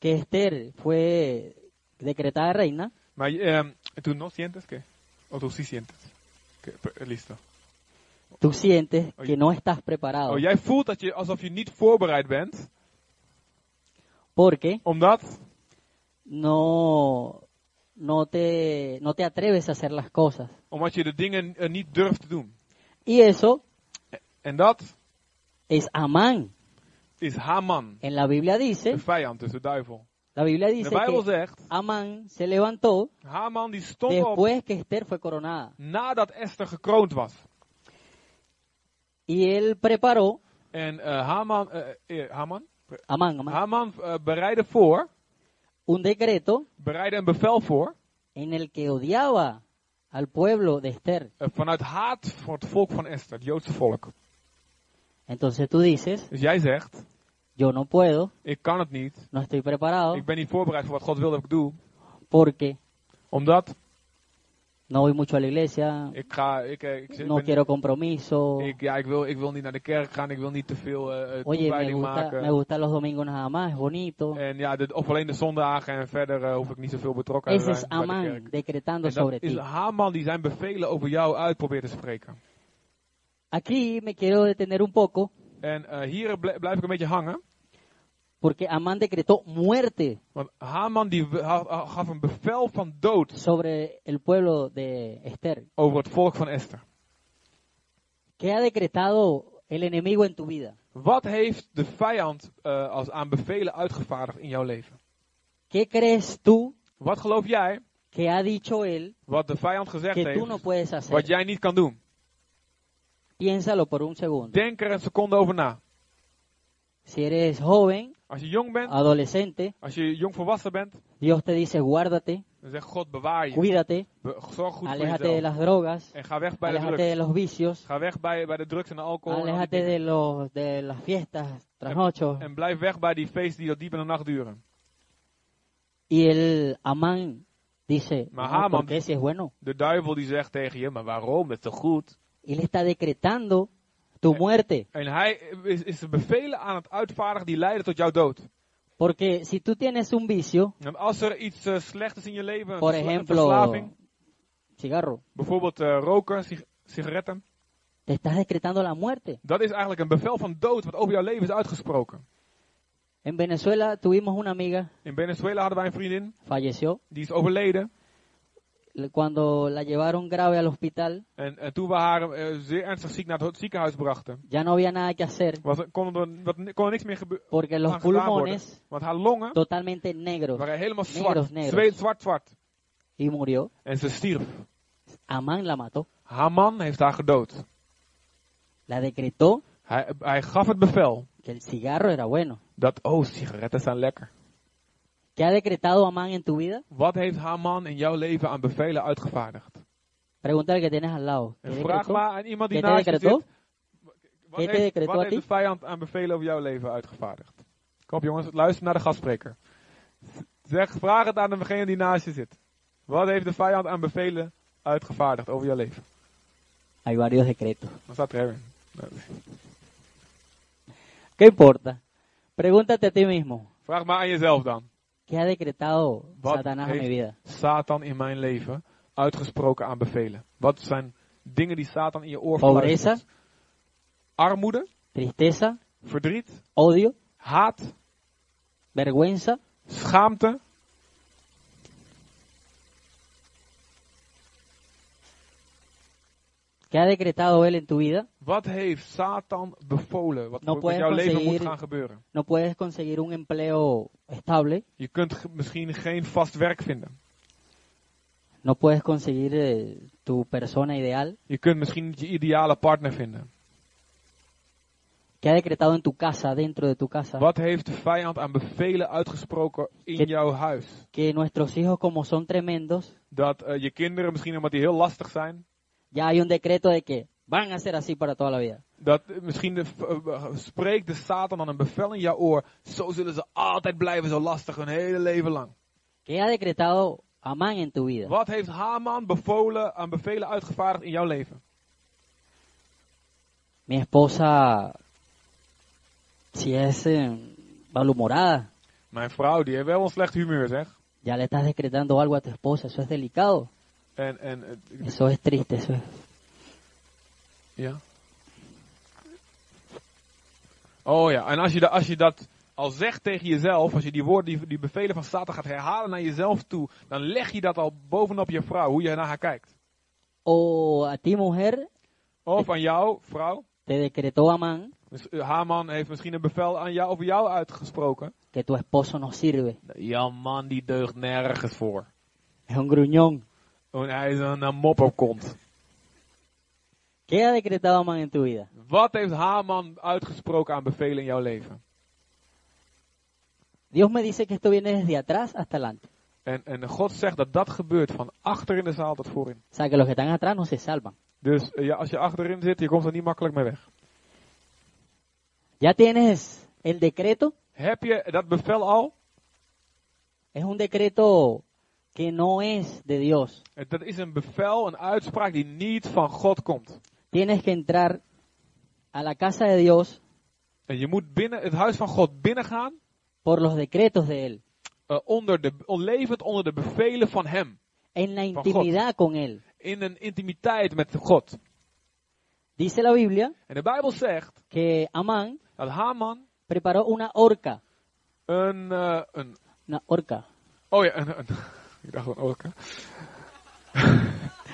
que Esther fue decretada reina,
Maar ehm tu no sientes que? O tu sí sientes. Que, per- listo.
tú sientes
Oye.
que no estás preparado
Oh, jij voelt dat je alsof je niet voorbereid bent,
porque
omdat
no, no, te, no te atreves a hacer las cosas.
omdat je de dingen eh, niet durft te doen.
Y eso
En dat
es Amán.
is Haman,
En la Biblia dice,
de vijand, dus de duivel.
la Biblia
De
dice
Bijbel
que
zegt,
Amán se levantó
Haman die stond op
después que Esther fue coronada.
nadat Esther gekroond was.
Y él preparó,
En eh, Haman, eh, eh, Haman,
Amán, Amán,
Haman eh, bereidde voor,
un decreto
bereidde een bevel voor,
en el que odiaba al pueblo de Esther.
eh, vanuit haat voor het volk van Esther, het Joodse volk.
Entonces tú dices,
Dus jij zegt,
yo no puedo,
ik kan het niet,
no estoy preparado
Ik ben niet voorbereid voor wat God wil dat ik doe.
porque
Omdat
no voy mucho a la iglesia,
ik ga. Ik, eh, ik, zit-
no
ben-
quiero compromiso.
ik, ja, ik, wil, ik wil niet naar de kerk gaan. Ik wil niet te veel eh, eh,
Oye, me
toewijding
gusta,
maken.
me gustan los domingos nada más, es bonito.
En ja, dit- of alleen de zondagen en verder eh, hoef ik niet zoveel betrokken te
Ese
zijn
es
bij de
Amán
kerk.
decretando
En
sobre
dat is
ti.
Haman die zijn bevelen over jou uit probeert te spreken.
Aquí me quiero detener un poco
En eh, hier ble- blijf ik een beetje hangen.
porque Amán decretó muerte
Want Haman die w- ha- ha- gaf een bevel van dood
sobre el pueblo de Esther.
over het volk van Esther.
¿Qué ha decretado el enemigo en tu vida?
Wat heeft de vijand eh, als aan bevelen uitgevaardigd in jouw leven?
¿Qué crees tú
Wat geloof jij
que ha dicho él
wat de vijand gezegd
que
heeft
tú no puedes
wat
hacer?
jij niet kan doen.
Piénsalo por un segundo.
Denk er een seconde over na.
Si eres joven,
Als je jong
Ah.
bent,
adolescente,
als je jong volwassen bent,
Dios te dice guárdate,
dan zegt God bewaar je.
cuídate,
Be- zorg goed voor
aléjate de Eh,
jezelf.
las drogas,
En ga weg bij de
aléjate
drugs.
de los vicios,
Ga weg bij, bij de drugs en de alcohol. en al die
aléjate
dingen.
de los de las fiestas trasnochos.
En blijf weg bij die feesten die dat diep in de nacht duren.
Y el Amán dice,
Ma-
"No,
Amán-
¿por qué si es bueno?
De duivel die zegt tegen je, maar waarom? Dat is toch goed?
Él está decretando tu muerte.
En hij is, is de bevelen aan het uitvaardigen die leiden tot jouw dood.
Porque si tú tienes un vicio,
En als er iets eh, slecht is in je leven, een
por
versla- een
ejemplo,
verslaving,
cigarro,
bijvoorbeeld eh, roken, sig- sigaretten,
te estás decretando la muerte.
dat is eigenlijk een bevel van dood wat over jouw leven is uitgesproken.
En Venezuela tuvimos una amiga,
In Venezuela hadden wij een vriendin,
falleció,
die is overleden.
cuando la llevaron grave al hospital,
En, en toen we haar eh, zeer ernstig ziek naar het ziekenhuis brachten,
ya no había nada que hacer
was, er- kon, er, wat- kon er niks meer gebeuren.
porque los
aan gedaan worden.
pulmones
Want haar longen
totalmente negros
waren helemaal
Negros,
zwart.
negros.
Zweet, zwart, zwart.
y murió.
En ze stierf.
Amán la mató,
Haar man heeft haar gedood.
la decretó
Hij, hij gaf het bevel
que el cigarro era bueno.
dat, oh, sigaretten zijn lekker.
¿Qué ha decretado Amán en tu vida?
Wat heeft haar man in jouw leven aan bevelen uitgevaardigd?
Pregúntale al que tienes al lado. ¿Qué
En vraag
decretó?
maar aan iemand die
Jij
naast je
decreto?
zit. Wat
Jij
heeft,
decreto,
wat heeft de
Atti?
vijand aan bevelen over jouw leven uitgevaardigd? Kom op jongens, luister naar de gastspreker. Zeg, vraag het aan degene die naast je zit. Wat heeft de vijand aan bevelen uitgevaardigd over jouw leven?
Hay varios decretos.
Dan staat er even.
¿Qué importa? Pregúntate a ti mismo.
Vraag maar aan jezelf dan.
¿Qué ha decretado
Wat
Satanás a
heeft-
mi vida?
Satan in mijn leven uitgesproken aan bevelen. Wat zijn dingen die Satan in je oor
Pobreza,
fluistert? Armoede,
tristeza,
verdriet,
odio,
haat,
vergüenza,
schaamte,
¿Qué ha decretado él en tu vida?
Wat heeft Satan bevolen? Wat
Nou,
met
puedes
jouw leven moet
conseguir-
gaan gebeuren?
No puedes conseguir un empleo estable,
Je kunt ge- misschien geen vast werk vinden.
no puedes conseguir eh, tu persona ideal.
Je kunt misschien niet je ideale partner vinden.
¿Qué ha decretado en tu casa, dentro de tu casa?
Wat heeft de vijand aan bevelen uitgesproken in
Dit-
jouw huis?
Que nuestros hijos, como son tremendos,
Dat eh, je kinderen misschien omdat die heel lastig zijn.
ya hay un decreto de que van a ser así para toda la vida.
Dat eh, misschien de, v- eh, eh, spreekt de Satan dan een bevel in jouw oor. Zo zullen ze altijd blijven zo lastig hun hele leven lang.
¿Qué ha decretado Amán en tu vida?
Wat heeft Haman bevolen aan bevelen uitgevaardigd in jouw leven?
Mi esposa, si es eh, malhumorada,
Mijn vrouw die heeft wel een slecht humeur zeg.
ya le estás decretando algo a tu esposa. Eso es delicado.
En, en eh,
Eso es triste. Eso es...
Ja. Oh ja, en als je, da- als je dat al zegt tegen jezelf, als je die woorden, die, die bevelen van Satan gaat herhalen naar jezelf toe, dan leg je dat al bovenop je vrouw, hoe je naar haar kijkt.
O a ti, mujer,
Of aan jou, vrouw.
te decretó Amán
Dus eh, Haman heeft misschien een bevel aan jou, over jou uitgesproken.
que tu esposo no sirve.
Ja man, die deugt nergens voor.
Es un gruñón.
En Oh, hij is een, een mopperkont.
¿Qué ha decretado Amán en tu vida?
Wat heeft Haman uitgesproken aan bevelen in jouw leven?
Dios me dice que esto viene desde atrás hasta adelante.
En, en God zegt dat dat gebeurt van achter in de zaal tot voorin.
O sea, que los que están atrás no se salvan.
Dus eh, ja, als je achterin zit, je komt er niet makkelijk mee weg.
Ya tienes el decreto.
Heb je dat bevel al?
Es un decreto que no es de Dios.
Eh, Dat is een bevel, een uitspraak die niet van God komt.
Tienes que entrar a la casa de Dios
En je moet binnen het huis van God binnengaan,
por los decretos de Él,
eh, onder de, levend onder de bevelen van Hem.
en la
God.
intimidad con Él.
In een intimiteit met God.
Dice la Biblia
En de Bijbel zegt
que Amán
dat Haman
preparó una horca,
een. eh, een
una horca,
oh ja, een. een ik dacht een orka.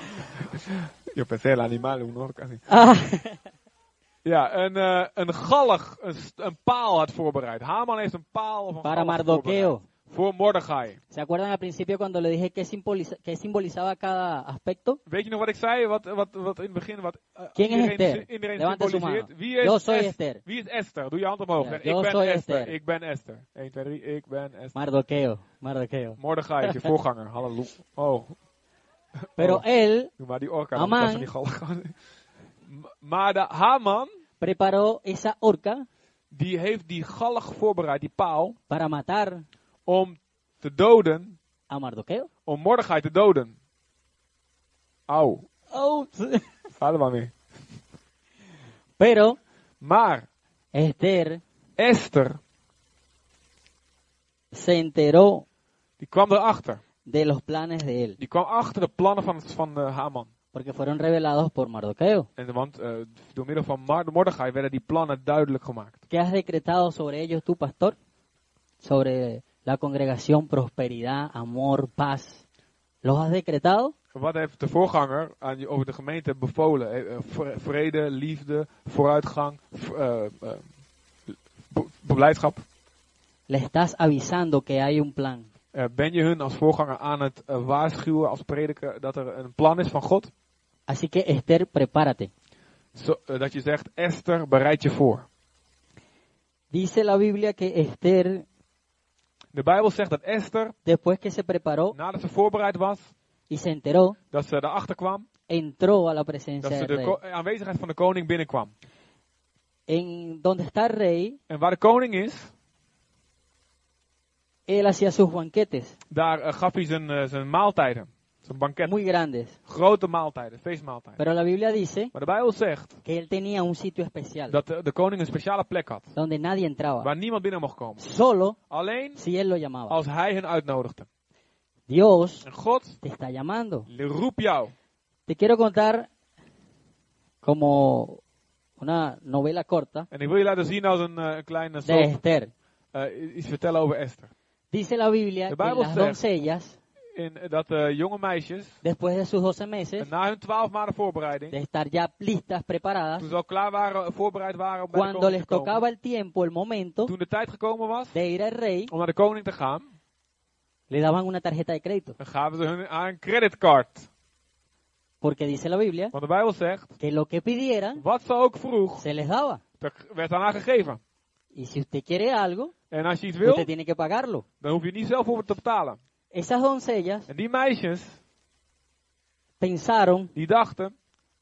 Yo pensé el animal, un orca. sí.
Ah,
Ja, een, eh, een galg, een, st- een paal had voorbereid. Haman heeft een paal of een
para
galg
Mardoqueo.
voorbereid. Voor Mordechai.
¿Se acuerdan al principio cuando le dije qué simboliza- qué simbolizaba cada aspecto?
Weet je nog wat ik zei? Wat, wat, wat in het begin, wat eh,
Quién es
iedereen,
Esther?
sy- iedereen
Levante su
symboliseert.
mano.
Wie is,
Yo soy
Es-
Esther.
Wie is Esther? Doe je hand omhoog.
Ja,
Zeg,
yo
ik ben
soy
Esther.
Esther.
Ik ben Esther. 1, 2, 3. Ik ben Esther.
Mardoqueo, Mardoqueo.
Mordechai is je voorganger. Halleluja. Oh,
Pero
Oh.
él
doe maar die orka.
Haman.
Dat is die galg. M- maar de Haman,
preparó esa horca
die heeft die galg voorbereid, die paal,
para matar
om te doden,
a Mardoqueo.
om Mordechai te doden. Auw.
Oh.
Ga er maar mee.
Pero
Maar
Esther
Esther,
se enteró
die kwam erachter.
de los planes de él,
Die kwam achter de plannen van, van eh, Haman.
porque fueron revelados por Mardoqueo.
En, want eh, door middel van Mar- Mordechai werden die plannen duidelijk gemaakt.
¿Qué has decretado sobre ellos tu pastor? Sobre la congregación, prosperidad, amor, paz. ¿Los has decretado?
Wat heeft de voorganger aan je, over de gemeente bevolen? Eh, eh, vre- Vrede, liefde, vooruitgang, v- eh, eh, be- beleidschap.
Le estás avisando que hay un plan.
Eh, ben je hun als voorganger aan het eh, waarschuwen, als prediker, dat er een plan is van God?
Así que Esther, prepárate.
Zo- eh, dat je zegt, Esther, bereid je voor.
Dice la Biblia que Esther,
De Bijbel zegt dat Esther,
después que se preparó
nadat ze voorbereid was,
y se enteró,
dat ze erachter kwam,
entró a la presencia
dat ze
del
de
rey.
ko- aanwezigheid van de koning binnenkwam.
En donde está el rey,
En waar de koning is,
él hacía sus banquetes,
daar eh, gaf hij zijn, eh, zijn maaltijden. Zijn banket.
muy grandes.
Grote maaltijden, feestmaaltijden.
Pero la Biblia dice
Maar de Bijbel zegt
que él tenía un sitio especial
dat de, de koning een speciale plek had.
donde nadie entraba,
Waar niemand binnen mocht komen.
solo
Alleen
si él lo llamaba.
als hij hen uitnodigde.
Dios
En God
te está llamando.
roept jou.
Te quiero contar como una novela corta
En ik wil je laten zien als een eh, een kleine
de
soap,
Esther.
eh, iets vertellen over Esther.
Dice la Biblia
The
que
Bible
las
says-
doncellas,
In, eh, dat eh, jonge meisjes,
después de sus 12 meses,
na hun twaalf maanden voorbereiding,
de estar ya listas, preparadas,
toen ze al klaar waren, voorbereid waren om bij de
cuando
koning te
les
komen.
tocaba el tiempo, el momento
Toen de tijd gekomen was
de ir al rey,
om naar de koning te gaan,
le daban una tarjeta de crédito.
dan gaven ze hun aan een creditcard.
Porque dice la Biblia
Want de Bijbel zegt,
que lo que pidieran
wat ze ook vroeg,
se les daba.
dat werd aan haar gegeven.
Y si usted quiere algo,
En als je iets
usted
wil,
tiene que pagarlo.
dan hoef je niet zelf over te betalen.
Esas doncellas
En die meisjes,
pensaron,
die dachten,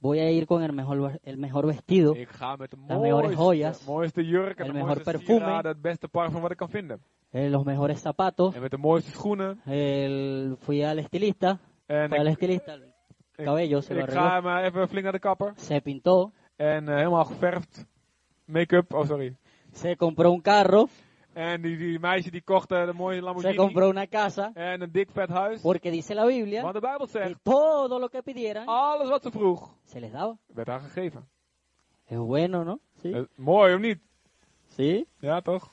voy a ir con el mejor, el mejor vestido,
ik ga met de
mejores joyas,
mooiste, mooiste jurk en
el
de
mejor
mooiste
perfume.
sieraden, het beste parfum wat ik kan vinden.
eh, los mejores zapatos.
En met de mooiste schoenen.
El- fui al estilista,
En
fui al
ik,
estilista, el cabello se lo
ik
arregló,
ga maar even flink naar de kapper.
se pintó,
En eh, helemaal geverfd. Make-up, oh sorry.
se compró un carro,
En die, die meisje die kocht eh, de mooie
se
Lamborghini.
compró una casa,
En een dik vet huis.
porque dice la Biblia
Want de Bijbel
que
zegt,
todo lo que pidieran
alles wat ze vroeg,
se les daba.
werd haar gegeven.
Es bueno, ¿no? Sí.
Eh, mooi of niet?
Sí.
Ja toch?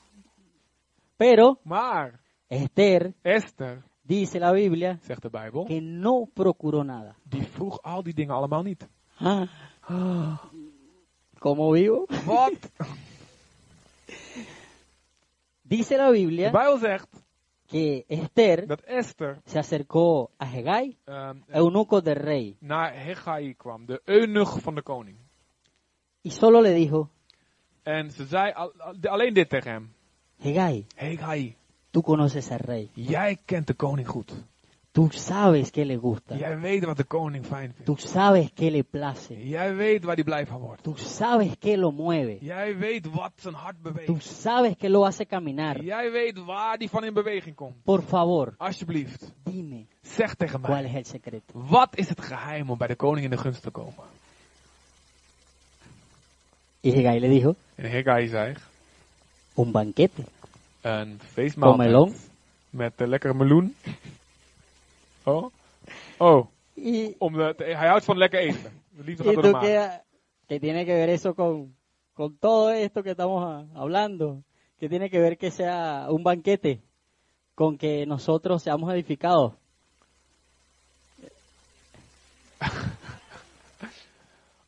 Pero
Maar,
Esther
Esther,
dice la Biblia
zegt de Bijbel,
que no procuró nada.
die vroeg al die dingen allemaal niet.
¿Cómo vivo?
Wat?
Dice la
De
Biblia
Bijbel zegt
que Esther
dat Esther
se acercó a Hegai,
ehm,
eunuco del rey,
naar Hegai kwam, de eunuch van de koning.
y solo le dijo,
En ze zei al- al- alleen dit tegen hem.
Hegai,
Hegai,
tú conoces al rey,
jij kent de koning goed.
tú sabes que le gusta,
Jij weet wat de koning fijn vindt.
tú sabes que le place,
Jij weet waar hij blij van wordt.
tú sabes que lo mueve,
Jij weet wat zijn hart
tú
beweegt.
sabes que lo hace caminar.
Jij weet waar die van in beweging komt.
Por favor,
Alsjeblieft,
dime
zeg tegen
cuál
mij.
es el secreto.
Wat is het geheim om bij de koning in de gunst te komen?
Y Hegai le dijo,
En Hegai zei,
un banquete
een
con
feestmaaltijd
melón
met de lekkere meloen. Oh, oh
y
om de, te- hij houdt van lekker eten. De liefde gaat
¿Y
door de
tú
maag.
qué, qué tiene que ver eso con, con todo esto que estamos ah, hablando? ¿Qué tiene que ver que sea un banquete con que nosotros seamos edificados?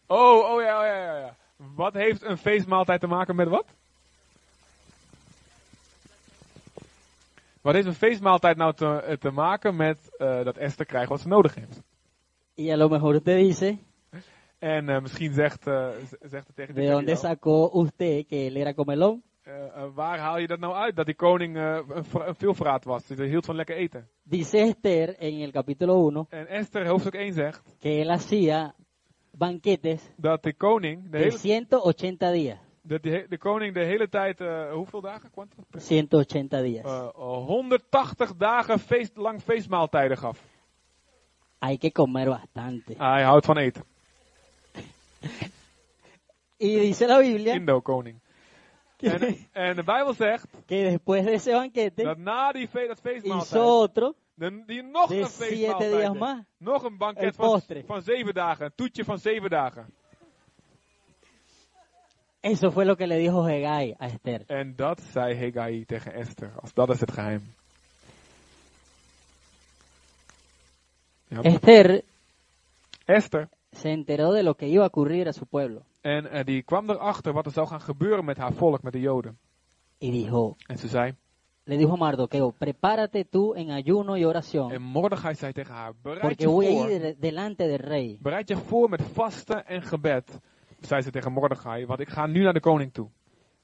Oh, oh ja, oh ja, ja, ja. Wat heeft een feestmaaltijd te maken met wat? Wat heeft een feestmaaltijd nou te, eh, te maken met eh, dat Esther krijgt wat ze nodig heeft?
Y a lo mejor usted dice,
En eh, misschien zegt, eh, z- zegt het tegen
¿de
die
dónde
video,
sacó usted que él era comelón?
eh, eh, Waar haal je dat nou uit? Dat die koning eh, een, vra- een veelvraat was. Die hield van lekker eten.
Dice Esther en el capítulo 1
En Esther hoofdstuk 1 zegt
que él hacía banquetes
dat de koning
de
de hele,
180 días.
dat die he- de, koning de hele tijd, eh, hoeveel dagen? Quantum?
180 días.
Eh, 180 dagen feest, lang feestmaaltijden gaf.
Hay que comer bastante.
Hij houdt van eten.
Y dice la Biblia
Indo-koning. En,
que,
en de Bijbel zegt
que después de ese banquete
dat na die fe, dat
hizo
feestmaaltijd,
otro
dan die nog
de
een
siete días
feestmaaltijd,
más.
deed. nog een
El
banket van,
postre.
van zeven dagen, een toetje van zeven dagen.
Eso fue lo que le dijo Hegai a Esther.
En dat zei Hegai tegen Esther, als dat is het geheim. Ja.
Eh. Esther
Esther.
se enteró de lo que iba a ocurrir a su pueblo
En eh, die kwam erachter wat er zou gaan gebeuren met haar volk, met de Joden.
y dijo,
En ze zei,
le dijo a Mardoqueo, prepárate tú en ayuno y
en
oración,
Mordechai zei tegen haar, bereid
porque
je
voy
voor,
a ir delante del rey.
bereid je voor met vasten en gebed, zei ze tegen Mordechai, want ik ga nu naar de koning toe.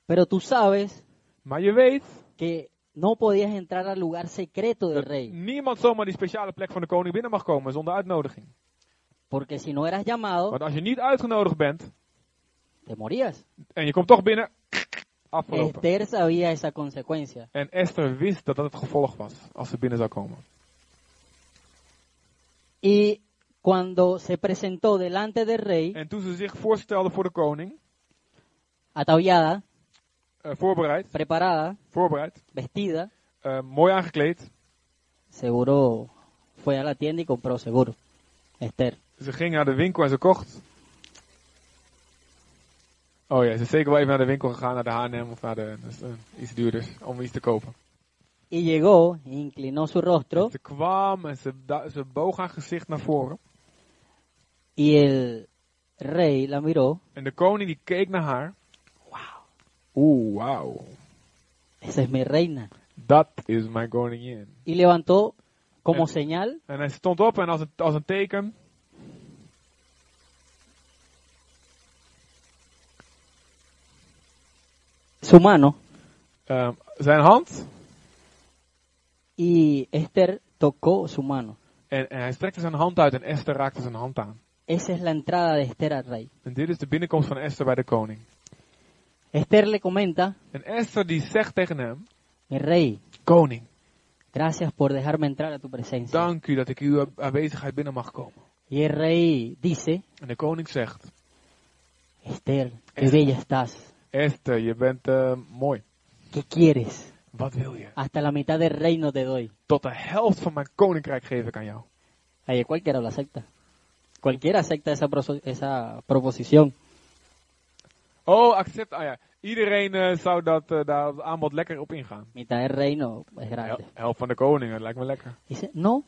Pero tú sabes
Maar je weet
que no podías entrar al lugar secreto del
dat
rey,
niemand zomaar die speciale plek van de koning binnen mag komen zonder uitnodiging.
porque si no eras llamado,
Want als je niet uitgenodigd bent
te morías.
en je komt toch binnen, afgelopen.
Esther sabía esa consecuencia.
En Esther wist dat dat het gevolg was als ze binnen zou komen.
Y cuando se presentó delante del rey,
En toen ze zich voorstelde voor de koning,
ataviada,
eh, voorbereid,
preparada,
voorbereid,
vestida,
eh, mooi aangekleed,
seguro fue a la tienda y compró seguro. Esther.
ze ging naar de winkel en ze kocht. Oh ja, ze is zeker wel even naar de winkel gegaan, naar de H&M of naar de, dus, eh, iets duurders, om iets te kopen.
Y llegó, inclinó su rostro
Ze kwam en ze, da- ze boog haar gezicht naar voren.
y el rey la miró.
En de koning die keek naar haar. Oeh, wauw.
Esa es mi reina.
Dat is mijn koningin.
Y levantó como
Eh.
señal
En hij stond op en als een, als een teken.
su mano
eh, zijn hand.
y Esther tocó su mano.
En, en hij strekte zijn hand uit en Esther raakte zijn hand aan.
Esa es la entrada de Esther al rey.
En dit is de binnenkomst van Esther bij de koning.
Esther le comenta,
En Esther die zegt tegen hem:
mi rey,
Koning,
gracias por dejarme entrar a tu presencia.
dank u dat ik uw aanwezigheid binnen mag komen.
Y el rey dice,
En de koning zegt:
Esther, qué
Esther.
bella estás.
Esther, je bent eh, mooi.
¿Qué quieres?
Wat wil je?
Hasta la mitad del reino te doy.
Tot de helft van mijn koninkrijk geef ik aan jou.
Ahí cualquiera la acepta. Cualquiera acepta esa, proso- esa proposición.
Oh, accept. Ah ja, iedereen eh, zou dat, eh, daar het aanbod lekker op ingaan.
Mitad del reino es grande.
Hel- helft van de koning, dat lijkt me lekker.
Dice, no,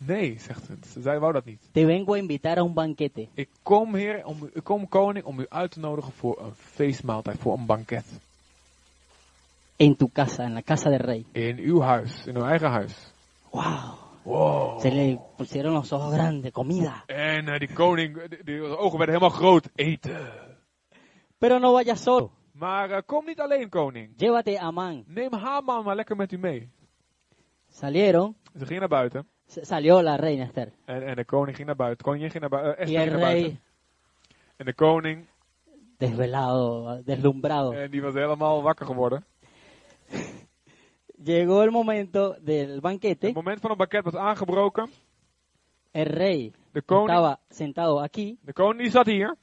Nee, zegt ze. Ze- Zij wou dat niet.
te vengo a invitar a un banquete.
Ik kom, heer, om, u- ik kom koning om u uit te nodigen voor een feestmaaltijd, voor een banket.
en tu casa, en la casa del rey.
In uw huis, in uw eigen huis.
¡Wow!
Wow.
Se le pusieron los ojos grandes, comida.
En eh, die koning, eh, die, die ogen werden helemaal groot. Eten.
Pero no vayas solo.
Maar eh, kom niet alleen, koning.
Llévate a Amán.
Neem Haman maar lekker met u mee.
Salieron,
Ze ging naar buiten.
s- salió la reina Esther.
En, en de koning ging naar buiten. Koningin ging naar buiten. eh,
Y
Esther
el
ging naar buiten.
rey,
En de koning,
desvelado, deslumbrado.
eh, die was helemaal wakker geworden.
Llegó el momento del banquete.
Het moment van het pakket was aangebroken.
El rey
De koning,
estaba sentado aquí,
de koning die zat hier.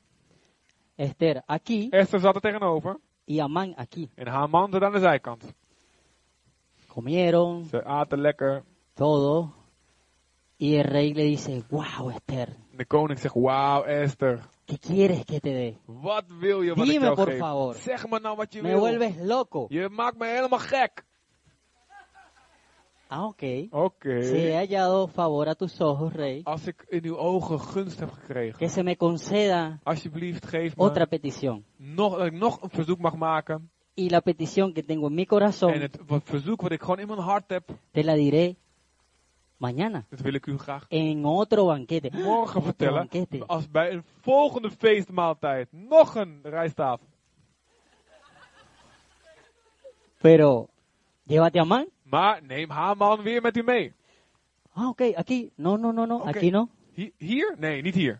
Esther aquí
Esther zat er tegenover.
y Amán aquí.
En Haman zat aan de zijkant.
Comieron
Ze aten lekker.
todo. Y el rey le dice, wow, Esther,
En de koning zegt, wauw Esther.
¿qué quieres que te dé?
Wat wil je wat ik
Dime,
jou
por
geef?
favor.
Zeg me nou wat je
Me
wil.
vuelves loco.
Je maakt me helemaal gek.
Ah, ok.
Oké.
Si he hallado favor a tus ojos, rey,
Als ik in uw ogen gunst heb gekregen.
que se me conceda
Alsjeblieft geef me
otra petición.
nog, dat ik nog een verzoek mag maken.
Y la petición que tengo en mi
En
corazón
het wat verzoek wat ik gewoon in mijn hart heb.
te la diré mañana
Dat wil ik u graag
en otro banquete.
morgen vertellen.
banketten.
Als bij een volgende feestmaaltijd nog een rijsttafel.
Pero llévate a Amán.
Maar neem Haman weer met u mee.
Ah, ok, aquí. No, no, no, no,
Ok.
aquí no.
Hi- Hier? Nee, niet hier.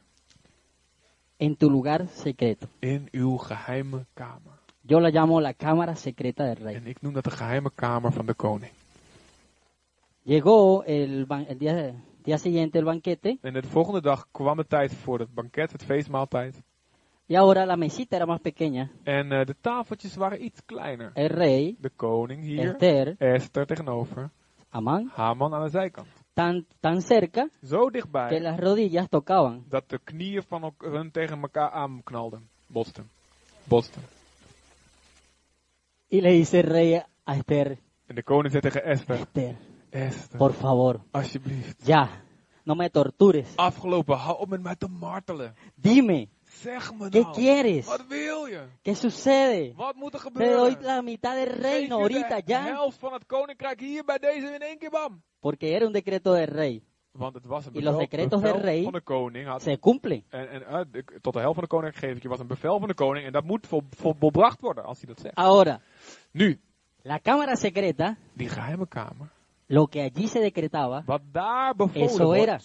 En tu lugar secreto.
In uw geheime kamer.
Yo la llamo la cámara secreta del rey.
En ik noem dat de geheime kamer van de koning.
Llegó el, ban- el día, día siguiente el banquete
En de volgende dag kwam de tijd voor het banket, het feestmaaltijd.
y ahora la mesita era más pequeña.
En eh, de tafeltjes waren iets kleiner.
El rey,
De koning hier,
Esther,
Esther tegenover,
Amán,
Haman aan de zijkant.
tan, tan cerca
Zo
que
dichtbij
las rodillas tocaban.
dat de knieën van elk- hun tegen elkaar aanknalden. Botsten. Botsten.
Y le dice el rey a Esther,
En de koning zei tegen Esther,
Esther,
Esther,
por favor,
alsjeblieft,
ya, no me tortures.
Afgelopen, hou op met mij te martelen.
Dime,
Zeg me
¿qué
nou.
quieres?
Wat wil je?
¿Qué sucede?
Wat moet er
Te doy
gebeuren?
la mitad del
Geef
reino
je de
ahorita ya,
helft van het koninkrijk hier bij deze in één keer bam.
porque era un decreto del rey.
Want het was een
Y los
bevel,
decretos del
bevel
rey
van de koning. Had,
Se cumplen.
en en eh, de- tot de helft van de koning geef ik je. was een bevel van de koning. En dat moet vol, vol- volbracht worden als hij dat zegt.
Ahora,
Nu,
la cámara secreta,
die geheime kamer.
lo que allí se decretaba,
Wat daar bevolen
Eso
wordt.
era.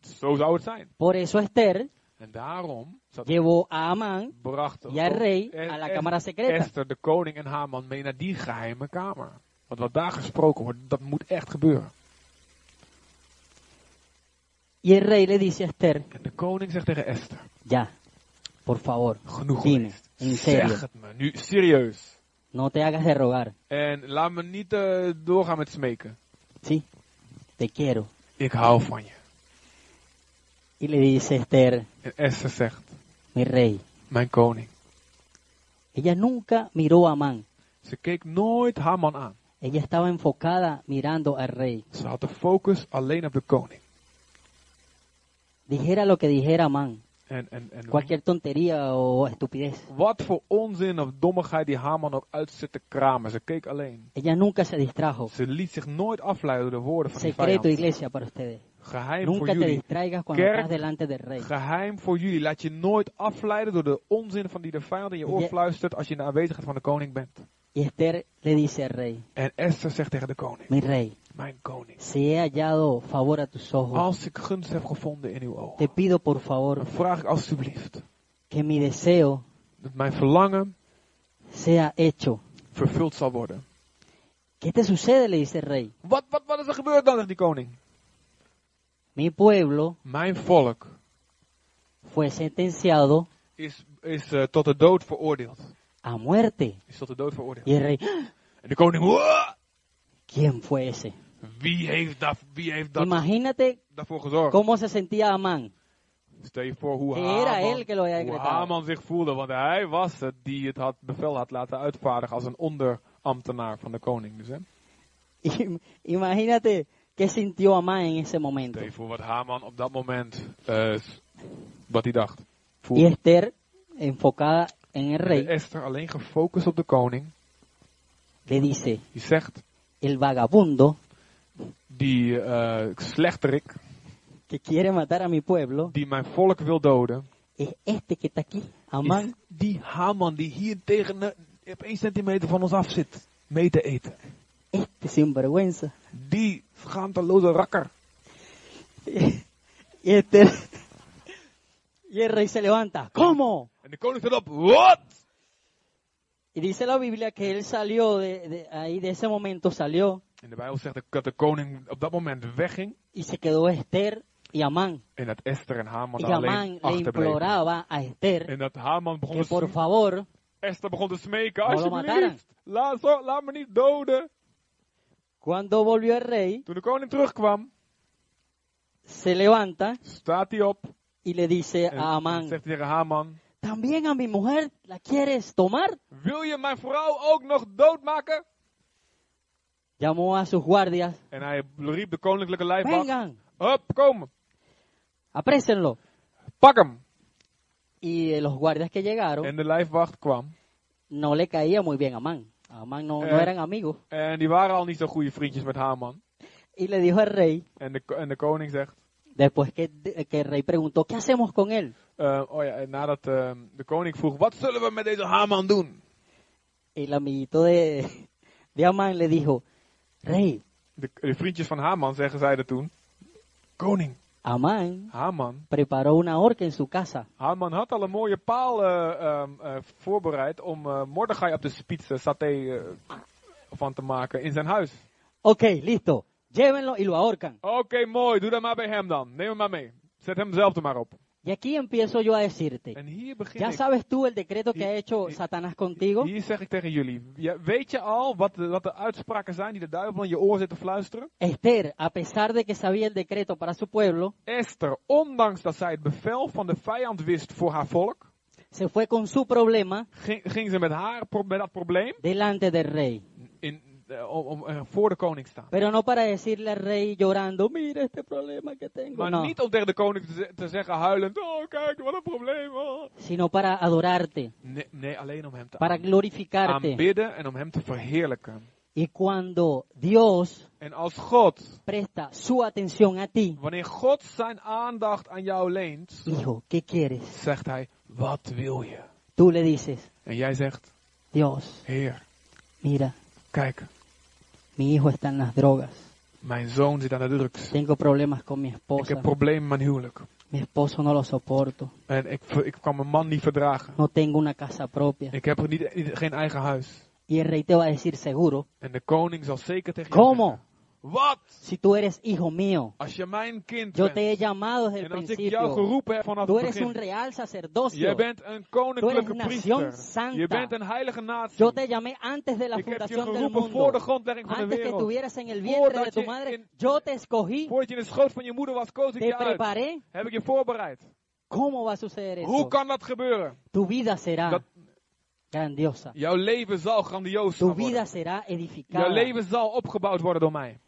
Zo zou het zijn.
por eso Esther
En daarom zat
llevó a Amán
bracht
y al rey
Es-
a la
Es-
cámara secreta.
Esther, de koning en Haman mee naar die geheime kamer. Want wat daar gesproken wordt, dat moet echt gebeuren.
Y el rey le dice a Esther,
En de koning zegt tegen Esther,
ya, por favor,
genoeg
Dime,
geweest.
in serio.
Zeg het me, nu serieus.
no te hagas de rogar,
En laat me niet eh, doorgaan met smeken.
¿sí? Te quiero.
Ik hou van je.
Y le dice Esther,
En Esther zegt,
mi rey.
mijn koning.
Ella nunca miró a Amán.
Ze keek nooit Haman aan.
Ella estaba enfocada mirando al rey.
Ze had de focus alleen op de koning.
Dijera lo que dijera Amán,
En, en, en
cualquier tontería o estupidez.
wat voor onzin of dommigheid die Haman ook uit zit te kramen. Ze keek alleen.
Ella nunca se distrajo.
Ze liet zich nooit afleiden door de woorden van die
Secreto,
vijand.
iglesia, para ustedes.
Geheim voor
Nunca te
jullie.
distraigas cuando
Kerk.
estás delante del rey.
Geheim voor jullie. Laat je nooit afleiden door de onzin van die de vijand in je oor
Je-
fluistert als je in de aanwezigheid van de koning bent.
Y Esther le dice al rey,
En Esther zegt tegen de koning,
mi rey,
mijn koning,
si he hallado favor a tus ojos,
als ik gunst heb gevonden in uw ogen,
te pido por
dan
favor
vraag ik alstublieft
que mi deseo
dat mijn verlangen
sea hecho.
vervuld zal worden.
¿Qué te sucede? le dice el rey.
Wat, wat, wat is er gebeurd dan, zegt die koning?
Mi pueblo
Mijn volk
fue sentenciado
is, is eh, tot de dood veroordeeld.
a muerte.
Is tot de dood veroordeeld.
Y el rey, "Ah,
En de koning, "Wa!
¿quién fue ese?
wie heeft, dat, wie heeft dat,
Imagínate
daarvoor gezorgd?
cómo se sentía Amán.
Stel je voor hoe
Que era
Haman,
él que lo había
hoe
decretado.
Haman zich voelde, want hij was het die het had, bevel had laten uitvaardigen als een onderambtenaar van de koning. Dus, hè?
Im- Imagínate qué sintió Amán en ese momento.
Stel je voor wat Haman op dat moment, eh, s- wat hij dacht.
Y
Voelde.
Esther, enfocada en el
En
rey,
Esther alleen gefocust op de koning,
le dice,
die zegt,
el vagabundo
die eh slechterik,
que quiere matar a mi pueblo
die mijn volk wil doden,
es este que está aquí,
is
Amán.
die Haman die hier tegen eh, op één centimeter van ons af zit, mee te eten.
Este sinvergüenza.
Die schaamteloze rakker.
Y Esther... Y el rey se levanta. ¿Cómo?
En de koning staat op, wat?
Y dice la Biblia que él salió de, de ahí, de ese momento salió
In de Bijbel zegt de- dat de koning op dat moment wegging.
y se quedó Esther y Amán.
En dat Esther en Haman
Y
daar
Amán
alleen
le
achterbleven.
imploraba a Esther
En dat Haman begon
que
te
por
sm-
favor
Esther begon te smeken.
Waarom mataren?
Alsjeblieft, laat, zo, laat me niet doden.
Cuando volvió el rey,
Toen de koning terugkwam,
se levanta
staat hij op.
y le dice
En
a Amán,
zegt hij tegen Haman.
también a mi mujer la quieres tomar.
Wil je mijn vrouw ook nog doodmaken?
Llamó a sus guardias,
En hij riep de koninklijke lijfwacht.
vengan,
Hup, kom.
aprésenlo.
Pak hem.
Y eh, los guardias que llegaron
En de lijfwacht kwam.
no le caía muy bien a Amán. A Amán no, no
Eh.
eran amigos.
En die waren al niet zo goede vriendjes met Haman.
Y le dijo al rey,
En de, ko- en de koning zegt.
después que, que el rey preguntó, ¿qué hacemos con él?
eh, oh ja, en nadat eh, de koning vroeg, wat zullen we met deze Haman doen?
El amiguito de, de Amán le dijo, rey,
De, de vriendjes van Haman zeggen zeiden toen. Koning,
Amán
Haman.
preparó una horca en su casa.
Haman had al een mooie paal eh, ehm, eh, voorbereid om eh Mordechai op de spitsen saté eh, van te maken in zijn huis.
Ok, listo, llévenlo y lo ahorcan.
Oké, mooi, doe dat maar bij hem dan. Neem hem maar mee. Zet hem zelf er maar op.
Y aquí empiezo yo a decirte,
En hier begin
Ya
ik.
sabes tú el decreto que
Y-
ha hecho
y-
Satanás contigo.
Hier zeg ik tegen jullie. Ja, weet je al wat de, wat de uitspraken zijn die de duivel in je oor zit te fluisteren?
Esther, a pesar de que sabía el decreto para su pueblo,
Esther, ondanks dat zij het bevel van de vijand wist voor haar volk,
se fue con su problema
ging, ging ze met haar pro- met dat probleem
delante del rey.
in, eh, om, om eh, voor de koning te staan.
Pero no para decirle al rey llorando, mira este problema que tengo.
Maar
No,
niet om tegen de koning te, ze- te zeggen huilend, oh kijk, wat een probleem. oh."
sino para adorarte,
Nee, nee, alleen om hem te
para
aan-
glorificarte.
aanbidden en om hem te verheerlijken.
Y cuando Dios
En als God,
presta su atención a ti,
wanneer God zijn aandacht aan jou leent,
hijo, ¿qué quieres?
zegt hij, wat wil je?
Tú le dices,
En jij zegt,
Dios,
Heer,
mira,
kijk,
mi hijo está en las drogas,
mijn zoon zit aan de drugs.
tengo problemas con mi
Ik heb
esposa,
problemen met mijn huwelijk.
mi esposo no lo soporto,
En ik, ver- ik kan mijn man niet verdragen.
no tengo una casa propia.
Ik heb er niet, niet- geen eigen huis.
Y el rey te va a decir, seguro,
En de koning zal zeker tegen jou
¿cómo?
zeggen, Wat?
Si tú eres hijo mío,
Als je mijn kind
yo
bent.
te he llamado desde
en
el
als ik jou
principio.
geroepen heb vanaf
Tú
het
eres un
begin.
real sacerdocio.
Jij bent een
Tú eres
koninklijke
een
priester.
nación santa.
Je bent een heilige natie.
Yo te llamé antes de la
ik heb je
fundación del
geroepen voor de
mundo.
grondlegging van de
Antes que
wereld.
estuvieras en el vientre de
Voordat
tu
je
madre,
in-
yo te escogí,
Voordat je in de schoot van je moeder was, koos ik
te
je uit.
preparé.
Heb ik je voorbereid.
¿Cómo va a suceder
Hoe
eso?
kan dat gebeuren?
Tu vida será
Dat-
grandiosa.
Jouw leven zal grandioos
Tu
gaan
vida
worden.
será
Jouw
edificada.
leven zal opgebouwd worden door mij.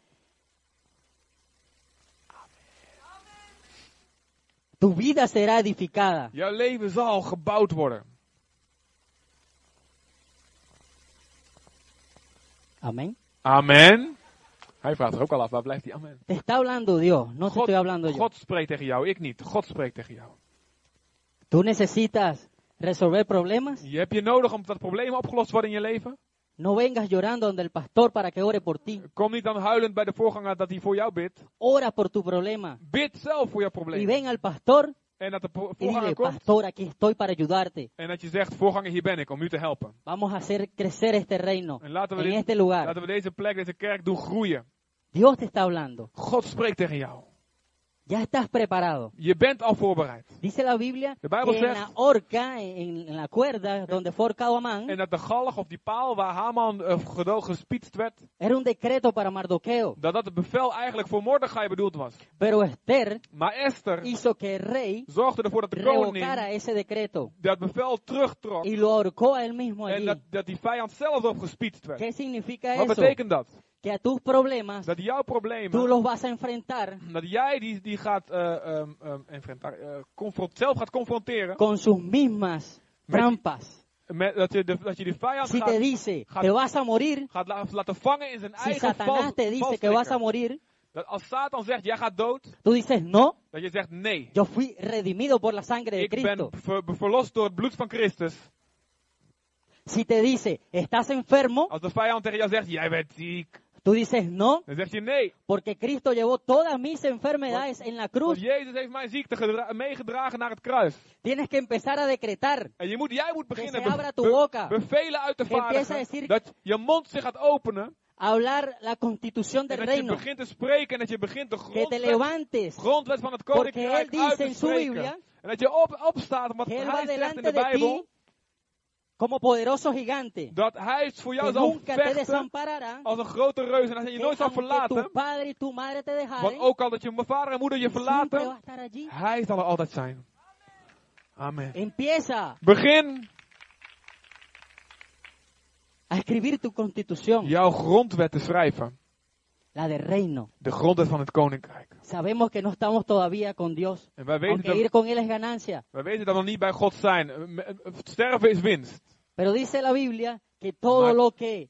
Tu vida será edificada.
Jouw leven zal gebouwd worden.
Amén.
Amen. Hij vraagt er ook al af, waar blijft die amen?
Te está hablando Dios, no te
God,
estoy hablando yo.
God spreekt tegen jou, ik niet. God spreekt tegen jou.
Tú necesitas resolver problemas.
Je hebt je nodig om dat probleem opgelost te worden in je leven.
No vengas llorando donde el pastor para que ore por ti.
Kom niet dan huilend bij de voorganger dat hij voor jou bidt.
Ora por tu problema.
Bid zelf voor jouw
Y
probleem.
ven al pastor
En dat de pro-
y dile,
voorganger komt
pastor, aquí estoy para ayudarte.
en dat je zegt, voorganger hier ben ik om u te helpen.
Vamos a hacer crecer este reino
En laten we,
en
dit,
este lugar.
laten we deze plek, deze kerk doen groeien.
Dios te está hablando.
God spreekt tegen jou.
Ya estás preparado.
Je bent al voorbereid.
Dice la Biblia
The Bible
que en
says-
la horca, en, en la cuerda donde fue horcado Amán,
En dat de galg of die paal waar Haman eh, gedoog gespietst werd,
era un decreto para Mardoqueo.
dat dat het bevel eigenlijk voor Mordechai bedoeld was.
Pero Esther
Maar Esther
hizo que el rey
zorgde ervoor dat de koning
revocara ese decreto
dat bevel terugtrok.
y lo ahorcó a él mismo
En
allí.
dat, dat die vijand zelf opgespietst werd.
¿Qué significa
Wat
eso?
betekent dat?
Que a tus problemas
Dat jouw problemen,
tú los vas a enfrentar
dat jij die, die gaat, eh, ehm, ehm, enfrenta- eh, confront, zelf gaat confronteren,
con sus mismas
Met-
trampas.
met, dat, je de, dat je die vijand
Si te
gaat,
dice
gaat-
te vas a morir,
gaat la- laten vangen in zijn
si
eigen
Satanás
vals,
te dice que
valstrikker.
vas a morir,
Dat als Satan zegt, jij gaat dood,
tú dices no,
dat je zegt nee.
yo fui redimido por la sangre de
Ik
Cristo.
ben ver- verlost door het bloed van Christus.
Si te dice estás enfermo,
Als de vijand tegen jou zegt, jij bent ziek,
tú dices no,
dan zeg je nee.
porque Cristo llevó todas mis enfermedades en la
Want
cruz.
Jezus heeft mijn ziekte gedra- meegedragen naar het kruis.
Tienes que empezar a decretar
En je moet, jij moet
que se
beginnen
abra
be-
tu
be-
boca,
bevelen uit te
Empieza a
vaardigen.
decir-
Dat je mond zich gaat openen.
a hablar la constitución
En
del
dat je
reino,
begint te spreken en dat je begint de
que te
grondwet,
levantes,
grondwet van het
porque
koninkrijk
él
uit
dice
te
en su Biblia
spreken. En dat je op, opstaat, want
que él va
hij zegt in de
delante de ti
Bijbel
como poderoso gigante,
dat hij voor jou
que
zal
nunca te
vechten
desamparará,
als een grote reus en dat hij je
que
nooit zal
aunque tu
verlaten.
padre y tu madre te
Want
dejaren,
ook al dat je mijn vader en moeder je
siempre va a
verlaten,
estar allí.
hij zal er altijd zijn. Amen.
Empieza
Begin
a escribir tu constitución,
jouw grondwet te schrijven.
la del reino.
De grondwet van het koninkrijk.
Sabemos que no estamos todavía con Dios,
En wij weten,
aunque ir
dat,
con Él es ganancia.
wij weten dat we nog niet bij God zijn. Eh, me- eh, Sterven is winst.
Pero dice la Biblia que todo
Mar-
lo que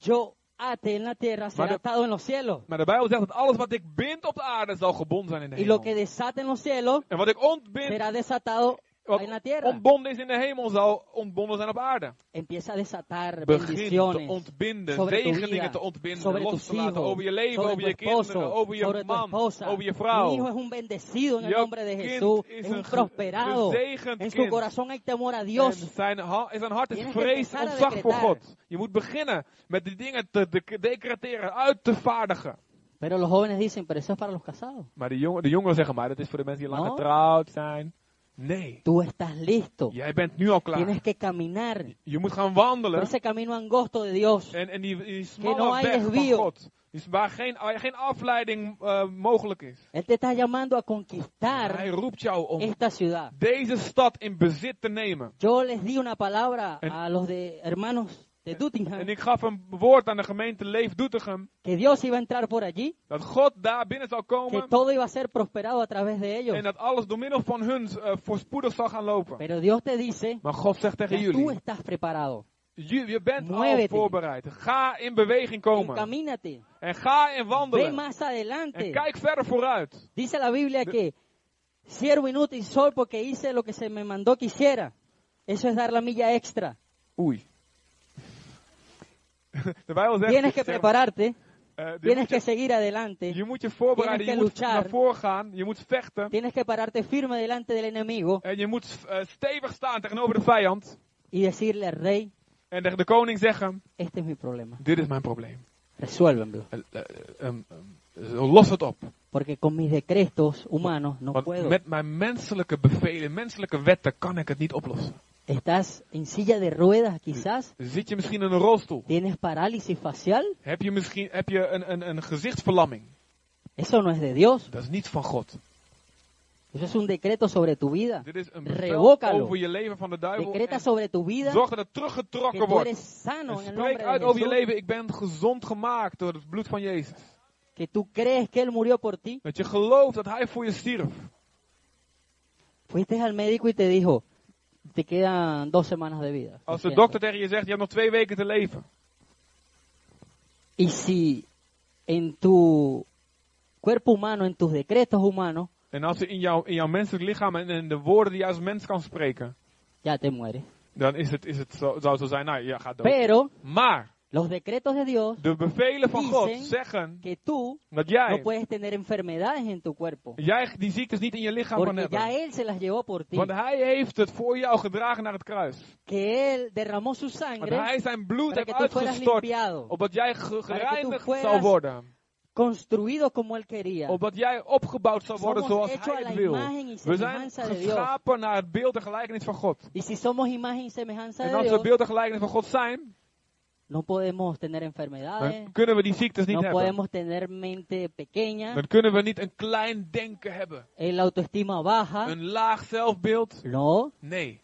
yo ate en la tierra será
Mar-
atado en los cielos.
Maar de Bijbel zegt dat alles wat ik bind op de aarde zal gebonden zijn in de
Y lo
hemel.
que desate en los cielos
En wat ik ontbind,
será desatado
wat
en la tierra.
ontbonden is in de hemel, zal ontbonden zijn op aarde.
Empieza a desatar
Begin te
bendiciones
ontbinden,
sobre tu
zegeningen
vida,
te ontbinden,
sobre
los
tus
te laten
hijos,
over je leven,
sobre
over
tu
je kinderen,
esposo,
over je
sobre tu
man,
esposa.
over je
Mi hijo
vrouw.
es un bendecido en el
Jouw
nombre de
kind
Jesús,
is
es
een
un
ge-
prosperado.
gezegend
En su
kind.
corazón hay temor a
En
Dios.
zijn, ha- en zijn hart is
Tienes que
vrees
empezar a
en ontzag voor
decretar.
God. Je moet beginnen met die dingen te de- decreteren, uit te vaardigen.
Pero los jóvenes dicen, pero eso es para los casados.
Maar de, jongen, de jongeren zeggen maar, dat is voor de mensen die lang
No.
getrouwd zijn. Nee,
Tú estás listo.
jij bent nu al klaar.
Tienes que caminar
Je moet gaan
por
wandelen
ese camino angosto de Dios.
En, en die, die
no
smalle
hay
weg van
desvío.
God. Dus waar geen, waar geen afleiding eh, mogelijk is.
Él te está llamando a
Hij
conquistar
roept jou om
esta ciudad.
deze stad in bezit te nemen.
Yo les di una palabra
En-
a los de hermanos de Doetinchem,
En ik gaf een woord aan de gemeente Leef Doetinchem.
que Dios iba a entrar por allí,
Dat God daar binnen zal
que
komen.
todo iba a ser prosperado a través de ellos.
En dat alles door middel van hun eh, voorspoedig zal gaan lopen.
Pero Dios te dice,
Maar God zegt tegen
ya tú
jullie.
estás preparado.
"Ju- Je bent al
Muévete.
voorbereid. Ga in beweging komen.
Encamínate,
En ga en
ve
wandelen.
más adelante.
En kijk verder vooruit.
Dice la Biblia que siervo inútil soy porque hice lo que se me mandó que hiciera. Eso es dar la milla extra.
Oei. De Bijbel zegt...
Tienes que
zeg maar,
prepararte,
eh, je
tienes
moet
que
je-
seguir adelante,
Je moet je voorbereiden, je
Tienes que
moet
luchar.
naar voren gaan, je moet vechten.
tienes que pararte firme delante del enemigo
En je moet eh, stevig staan tegenover de vijand.
y decirle al rey,
En tegen de koning zeggen,
este es mi problema,
dit is mijn probleem.
resuélvemelo.
Eh, eh, ehm, ehm, los het op.
Porque con mis decretos humanos no
Want
puedo.
met mijn menselijke bevelen, menselijke wetten kan ik het niet oplossen.
Estás en silla de ruedas quizás,
Zit je misschien in een rolstoel?
tienes parálisis facial,
Heb je misschien heb je een, een, een gezichtsverlamming?
eso no es de Dios,
Dat is niet van God.
eso es un decreto sobre tu vida.
Dit is een bevel
Revócalo.
over je leven van de duivel.
Decreta
en
sobre tu vida
Zorg dat het
que
teruggetrokken
tú
wordt.
eres sano
En
en el
spreek
nombre
uit
de
over je
Jesús.
leven. Ik ben gezond gemaakt door het bloed van Jezus.
que tú crees que Él murió por ti,
Dat je gelooft dat hij voor je stierf.
fuiste al médico y te dijo, te quedan dos semanas de vida. lo
Als de
siento".
dokter tegen je zegt, je hebt nog twee weken te leven.
Y si en tu cuerpo humano, en tus decretos humanos,
En als ze in jouw, in jouw menselijk lichaam en, en de woorden die je als mens kan spreken.
ya te mueres.
Dan is het, is het zo, zou het zo zijn, nou ja, ga dood.
Pero
Maar
los decretos de Dios,
de bevelen van
Die
God
zijn-
zeggen
que tú
dat
no
jij,
puedes tener enfermedades en tu cuerpo,
jij die ziektes niet in je lichaam kan
porque ya
hebben.
Él se las llevó por ti,
Want hij heeft het voor jou gedragen naar het kruis.
que Él derramó su
Want
sangre
hij zijn bloed
para
heeft
que tú fueras
uitgestort.
limpiado,
Opdat jij ge-
Para que
gereinigd
tú fueras-
zal worden.
construido como Él quería.
Opdat jij opgebouwd zal worden
Somos
zoals
hechos a
hij
la
het wil.
imagen y
We zijn
semejanza de Dios.
geschapen naar het beeld en gelijkenis van God.
Y si somos imagen y semejanza
En
de
als we
Dios,
beeld en gelijkenis van God zijn,
no podemos tener enfermedades,
dan kunnen we die ziektes niet
no
hebben.
podemos tener mente pequeña,
Dan kunnen we niet een klein denken hebben.
el autoestima baja.
Een laag zelfbeeld.
No,
Nee,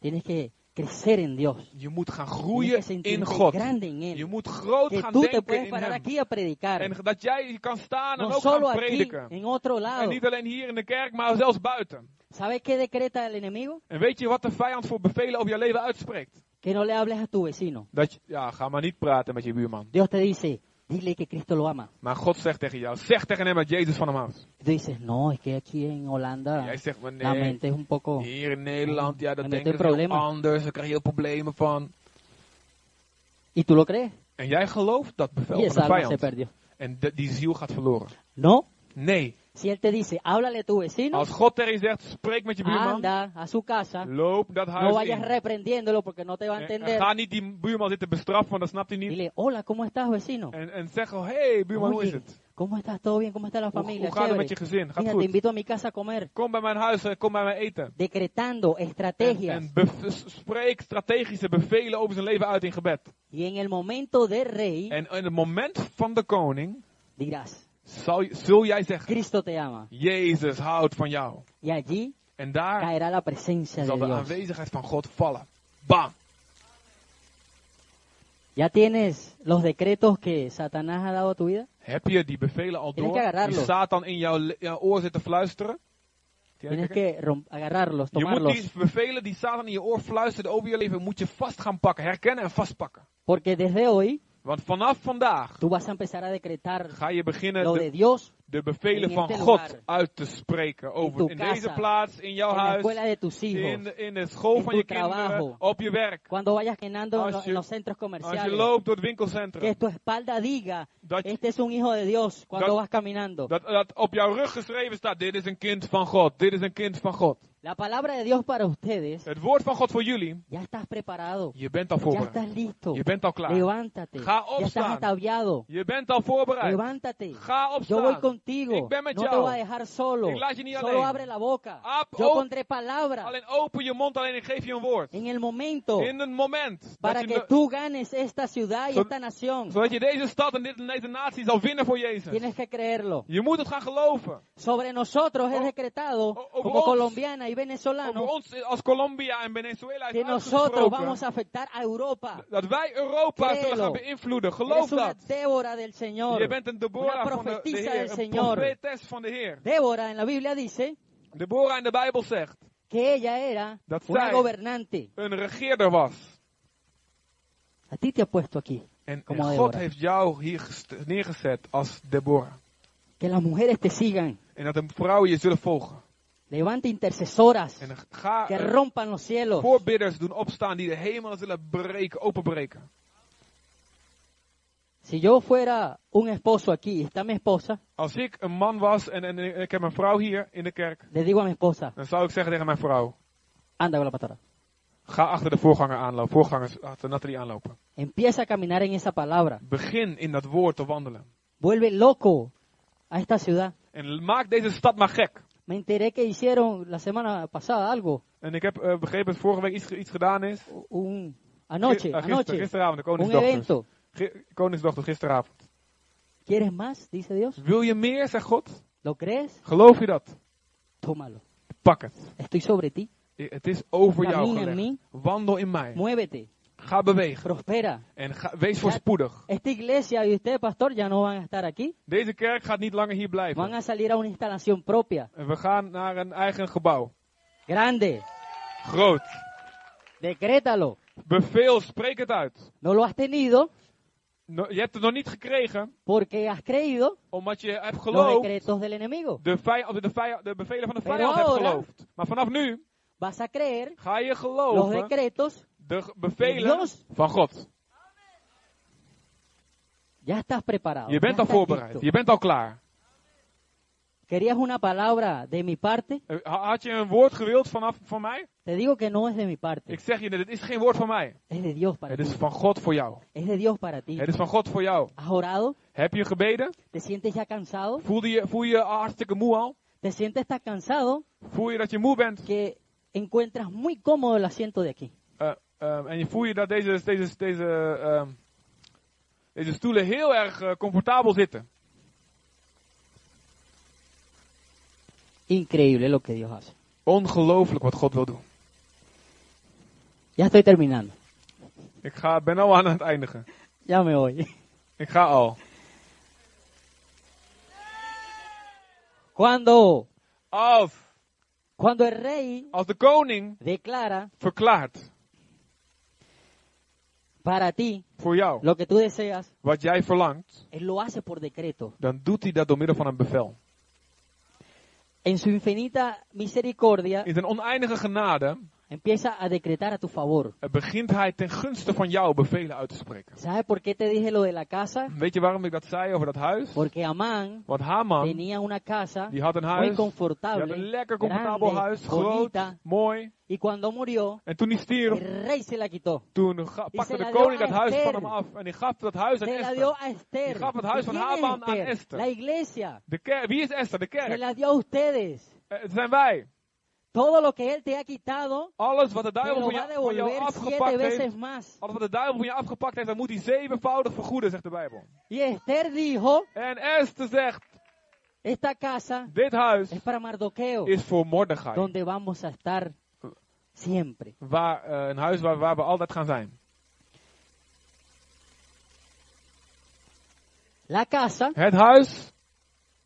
tienes que crecer en Dios.
je moet gaan
Tienes que
groeien in
sentirte
God.
grande en
Je
Él.
moet groot
Que
gaan
tú te
denken
puedes
in
parar
hem.
aquí a predicar.
En dat jij kan staan en
No
ook
solo
gaan
aquí,
prediken.
en otro
En
lado.
niet alleen hier in de kerk, maar zelfs buiten.
¿Sabes qué decreta el enemigo?
En weet je wat de vijand voor bevelen over je leven uitspreekt?
Que no le hables a tu vecino.
Dat je, ja, ga maar niet praten met je buurman.
Dios te dice, dile que Cristo lo ama.
Maar God zegt tegen jou, zeg tegen hem dat Jezus van hem houdt.
Y Tú dices, no, es que aquí en Holanda
Jij zegt, maar
la
nee,
mente es un poco...
hier in Nederland, ja,
Dan
dat
heeft
denken
hij
ze heel
problemen.
anders, daar krijg je heel problemen van.
¿Y tú lo crees?
En jij gelooft dat bevel
Y
van
esa
de
alma se
vijand.
perdió.
En de- die ziel gaat verloren.
No,
Nee,
si Él te dice, háblale a tu vecino,
als God tegen je zegt, spreek met je
Ah,
buurman,
anda a su casa,
loop dat
no
huis
vayas
in.
reprendiéndolo porque no te va a
En, en
entender.
ga niet die buurman zitten bestraffen, want dat snapt hij niet.
Dile, hola, ¿cómo estás, vecino?
En, en zeg al, hey buurman, hoe is
Oye,
het?
¿Cómo estás? ¿Todo bien? ¿Cómo está la
Hoe,
familia?
hoe gaat het
Chévere.
met je gezin? Gaat
Mira, te
goed?
invito a mi casa a comer.
Kom bij mijn huis, eh, kom bij mijn eten.
Decretando
En,
estrategias.
en bev- s- spreek strategische bevelen over zijn leven uit in gebed.
y en el momento de rey
En in het moment van de koning
dirás,
zal, je- zul jij zeggen,
Cristo te ama.
Jezus houdt van jou.
Y allí
En daar
caerá la presencia de
zal de
Dios.
aanwezigheid van God vallen. Bam!
¿Ya tienes los decretos que Satanás ha dado a tu vida?
Heb je die bevelen al
Tienes que
door? Die
agarrarlo.
Satan in jouw, le- jouw oor zit te fluisteren?
Tienes que rom- agarrarlos,
Je moet die
tomarlos.
bevelen die Satan in je oor fluistert over je leven, moet je vast gaan pakken, herkennen en vastpakken.
Porque desde hoy
Want vanaf vandaag
tú vas a empezar a decretar
ga je beginnen
lo
de,
de Dios
de bevelen
in
van
este
God
lugar.
uit te spreken. Over
tu
in
casa.
deze plaats, in jouw
en la
huis,
escuela de tus
in,
hijos.
de- in de school
en
van
tu
je kinderen,
trabajo.
op je werk.
Cuando vayas caminando en, lo-
Als je-
en los centros
Als je
comerciales.
loopt door het
Que
winkelcentrum.
tu espalda diga,
Dat,
este es un hijo de Dios cuando
Dat-
vas caminando.
dat, dat op jouw rug geschreven staat, dit is een kind van God, dit is een kind van God.
La palabra de Dios para ustedes,
Het woord van God voor jullie,
ya estás preparado,
je bent al
ya
voorbereid.
estás listo,
Je bent al klaar.
levántate,
Ga
ya estás
opstaan.
ataviado,
Je bent al voorbereid.
levántate.
Ga
Yo voy
opstaan.
contigo.
Ik ben met
no te
jou.
voy a dejar solo.
Ik laat je niet
solo
alleen.
abre la boca.
Ah,
Yo
oh.
pondré palabra
Alleen open je mond, alleen ik geef je een woord.
en el momento
In een moment.
para
dat
que
je,
tú ganes esta ciudad y
Zo-
esta nación.
zodat je deze stad en dit- en deze natie zal winnen voor Jezus.
Tienes que creerlo.
Je moet het gaan geloven.
Sobre nosotros es
O-
decretado,
o- o-
como
ons-
colombiana
oh,
y venezolano,
Voor ons als Colombia en Venezuela is
que nosotros
uitgesproken
vamos a afectar a Europa.
dat wij Europa zullen
Créelo.
gaan beïnvloeden. Geloof
Eres una
dat.
Débora del Señor.
Je bent een Deborah
Una
van de, de
profetisa
Heer,
del
een
Señor.
profetes van de Heer.
Débora en la Biblia dice
Deborah in de Bijbel zegt
que ella era
Dat
una
zij-
gobernante.
een regeerder was.
A ti te ha puesto aquí,
En, en
como a
God
Débora.
heeft jou hier gest- neergezet als Deborah.
Que las mujeres te sigan.
En dat de vrouwen je zullen volgen.
Levanta intercesoras
En ga
que
eh,
rompan los cielos.
voorbidders doen opstaan die de hemel zullen breken, openbreken.
Si yo fuera un esposo aquí, está mi esposa,
Als ik een man was en, en eh, ik heb een vrouw hier in de kerk,
le digo a mi esposa,
dan zou ik zeggen tegen mijn vrouw,
anda con la pastora.
ga achter de voorganger aanlopen, voorgangers achter Nathalie aanlopen.
Empieza a caminar en esa palabra.
Begin in dat woord te wandelen.
Vuelve loco a esta ciudad.
En maak deze stad maar gek.
Me enteré que hicieron la semana pasada algo,
En ik heb eh, begrepen dat vorige week iets, ge- iets gedaan is. Gi-
un anoche,
eh, gister-
anoche,
gisteravond, de
un
Koningsdochters.
evento.
Gi- Koningsdochter gisteravond.
¿Quieres más? Dice Dios.
Wil je meer, zegt God?
¿Lo crees?
Geloof je dat?
Tómalo.
Pak het.
Estoy sobre ti.
I- Het is over jou
Camina in
gelegd. Wandel in mij.
Muévete,
Ga bewegen.
prospera.
En ga, wees voorspoedig.
Esta iglesia y usted, pastor, ya no van a estar aquí.
Deze kerk gaat niet langer hier
Van
blijven.
a salir a una instalación propia,
En we gaan naar een eigen gebouw.
grande.
Groot.
Decrétalo.
Beveel, spreek het uit.
No lo has tenido
No- je hebt het nog niet gekregen,
porque has creído
omdat je hebt
los
geloofd.
decretos del enemigo.
De, vij- of de, vij- de bevelen van de
Pero
vijand hebt
ahora-
geloofd. Maar vanaf nu
Vas a creer
ga je
los
geloven
decretos.
de ge- bevelen
Dios.
van God.
Ya estás preparado.
Je
ya
bent al
estás
voorbereid.
listo.
Je bent al klaar.
¿Querías una palabra de mi parte?
Eh, ha- Had je een woord gewild vanaf van mij?
Te digo que no es de mi parte.
Ik zeg je, dit is geen woord van mij.
Es de Dios para
Het
ti.
is van God voor jou.
Es de Dios para ti.
Het is van God voor jou.
¿Has orado?
Heb je gebeden?
¿Te sientes ya cansado?
Voel je, voel je hartstikke moe al?
¿Te sientes tan cansado
Voel je dat je moe bent?
que encuentras muy cómodo el asiento de aquí?
Eh, ehm, en je voel je dat deze, deze, deze, ehm, deze stoelen heel erg eh, comfortabel zitten.
Increíble lo que Dios hace.
Ongelooflijk wat God wil doen.
Ya estoy terminando.
Ik ga, ben al aan het eindigen.
Ya me voy.
Ik ga al.
Cuando,
Als,
cuando el rey
als de koning
declara
verklaart
para ti
voor jou
lo que tú deseas,
wat jij verlangt,
él lo hace por decreto.
dan doet hij dat door middel van een bevel.
En su infinita misericordia
In zijn oneindige genade
empieza a decretar a tu favor.
eh, begint hij ten gunste van jou bevelen uit te spreken.
¿Sabes por qué te dije lo de la casa?
Weet je waarom ik dat zei over dat huis?
Porque Amán
Want Haman,
tenía una casa
die had een
muy
huis. Die had
confortable,
een lekker comfortabel huis.
grande,
Groot,
bonita,
mooi.
y cuando murió,
En toen hij stierf,
el rey se la quitó.
toen ga-
ze
pakte de
la
koning
dio
dat
aan
huis van
Esther.
hem af. En hij gaf dat huis aan
Se la dio
Esther.
a Esther.
Die gaf het huis
¿Y
van
quién es
Haman aan
Esther?
Esther.
La iglesia.
De kerk, wie is Esther? De
Se
kerk.
la dio a ustedes.
Eh, Het zijn wij.
Todo lo que él te ha quitado,
Alles wat de
te
duivel
lo
van
va a
jou, van jou
devolver siete
afgepakt heeft.
veces más.
Alles wat de duivel van je afgepakt heeft, dat moet hij zevenvoudig vergoeden, zegt de Bijbel.
Y Esther dijo,
En Esther zegt,
esta casa
dit huis
es para Mardoqueo,
is voor Mordechai.
donde vamos a estar siempre.
Waar, eh, een huis waar, waar we altijd gaan zijn.
La casa
Het huis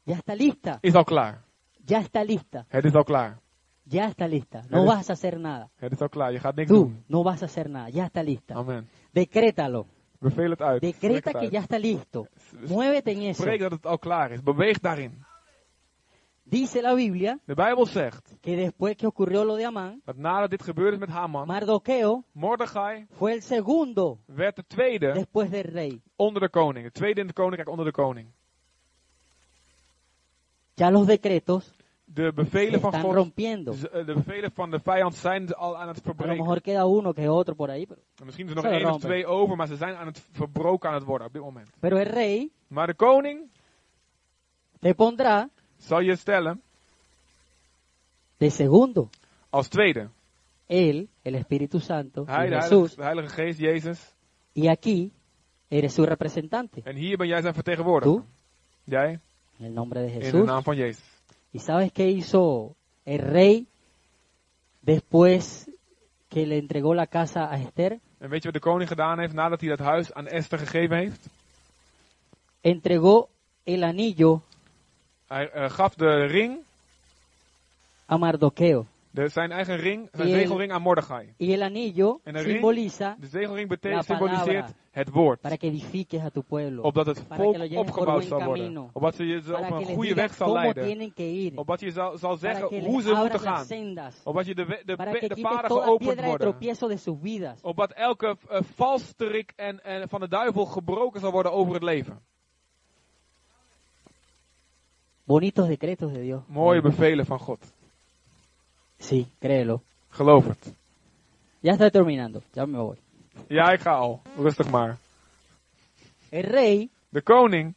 ya está lista,
is al klaar.
ya está lista,
Het is al klaar.
ya está lista. No
Eres-
vas a hacer nada.
Het is al klaar. Je gaat niks
Tú
doen.
no vas a hacer nada, ya está lista.
Amen.
Decrétalo.
Beveel het uit. Spreek
Decreta
het
que
uit.
ya está listo.
S-
Muévete en eso.
Spreek dat het al klaar is. Beweeg daarin.
Dice la Biblia
De Bijbel zegt
que después que ocurrió lo de Amán,
dat nadat dit gebeurde met Haman,
Mardoqueo
Mordechai
fue el segundo
werd de tweede
después del rey.
onder de koning. De tweede in het koninkrijk onder de koning.
Ya los decretos
De
se
bevelen van
están
God,
rompiendo.
z- eh, de bevelen van de vijand zijn al aan het
A lo
verbreken.
mejor queda uno que otro por ahí, pero,
Misschien is er nog
Zo,
één of
rampen.
twee over, maar ze zijn aan het verbroken aan het worden op dit moment.
pero el rey
Maar de koning
te pondrá
zal je stellen
de segundo.
als tweede.
Él, el Espíritu Santo,
Hij,
y
de heilige,
Jesús,
de heilige Geest, Jezus.
y aquí eres su representante.
En hier ben jij zijn
Tú,
vertegenwoordiger. Jij
en el nombre de
in de
Jesús.
naam van Jezus.
¿Y sabes qué hizo el rey después que le entregó la casa a Esther?
En weet je wat de koning gedaan heeft nadat hij dat huis aan Esther gegeven heeft?
Entregó el anillo
Hij eh, gaf de ring,
a Mardoqueo.
de, zijn eigen ring, zijn
Die-
zegelring aan Mordechai.
Y el anillo
En el rey-
simboliza
De zegelring
La
betekent,
palabra.
symboliseert het woord.
para que edifiques a tu pueblo,
Opdat het
Para que lo
volk
lleven por
opgebouwd
buen
zal worden.
camino.
Opdat ze je ze op
para que
een
les
goede weg
digas
zal
cómo
leiden.
tienen que ir,
Opdat je zal, zal
para que
zeggen hoe
les
ze moeten
abras las
gaan.
sendas,
Opdat je de, we- de,
para
pe-
que
de
quites
paden
toda
geopend
piedra de
worden.
tropiezo de sus vidas.
Opdat elke eh, valstrik en, en van de duivel gebroken zal worden over het leven.
Bonitos decretos de Dios.
Mooie bevelen van God.
Sí, créelo.
Geloof het.
Ya está terminando, ya me voy.
Ja, ik ga al. Rustig maar.
El rey
De koning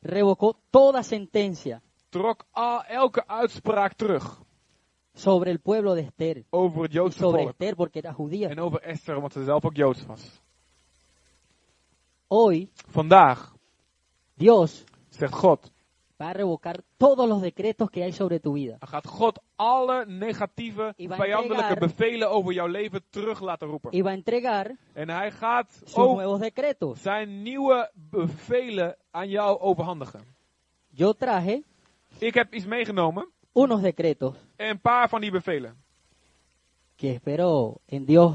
revocó toda sentencia
trok al, elke uitspraak terug
sobre el pueblo de Esther.
over het
Y
Joodse
sobre
volk.
Esther porque era judía.
En over Esther, omdat ze zelf ook Joods was.
Hoy
Vandaag
Dios
zegt God,
va a revocar todos los decretos que hay sobre tu vida.
dan gaat God alle negatieve,
Ivan
vijandelijke
Tegar.
bevelen over jouw leven terug laten roepen.
Y va a entregar
En hij gaat
sus
ook
nuevos decretos.
zijn nieuwe bevelen aan jou overhandigen.
Yo traje
Ik heb iets meegenomen,
unos decretos
een paar van die bevelen.
que espero en Dios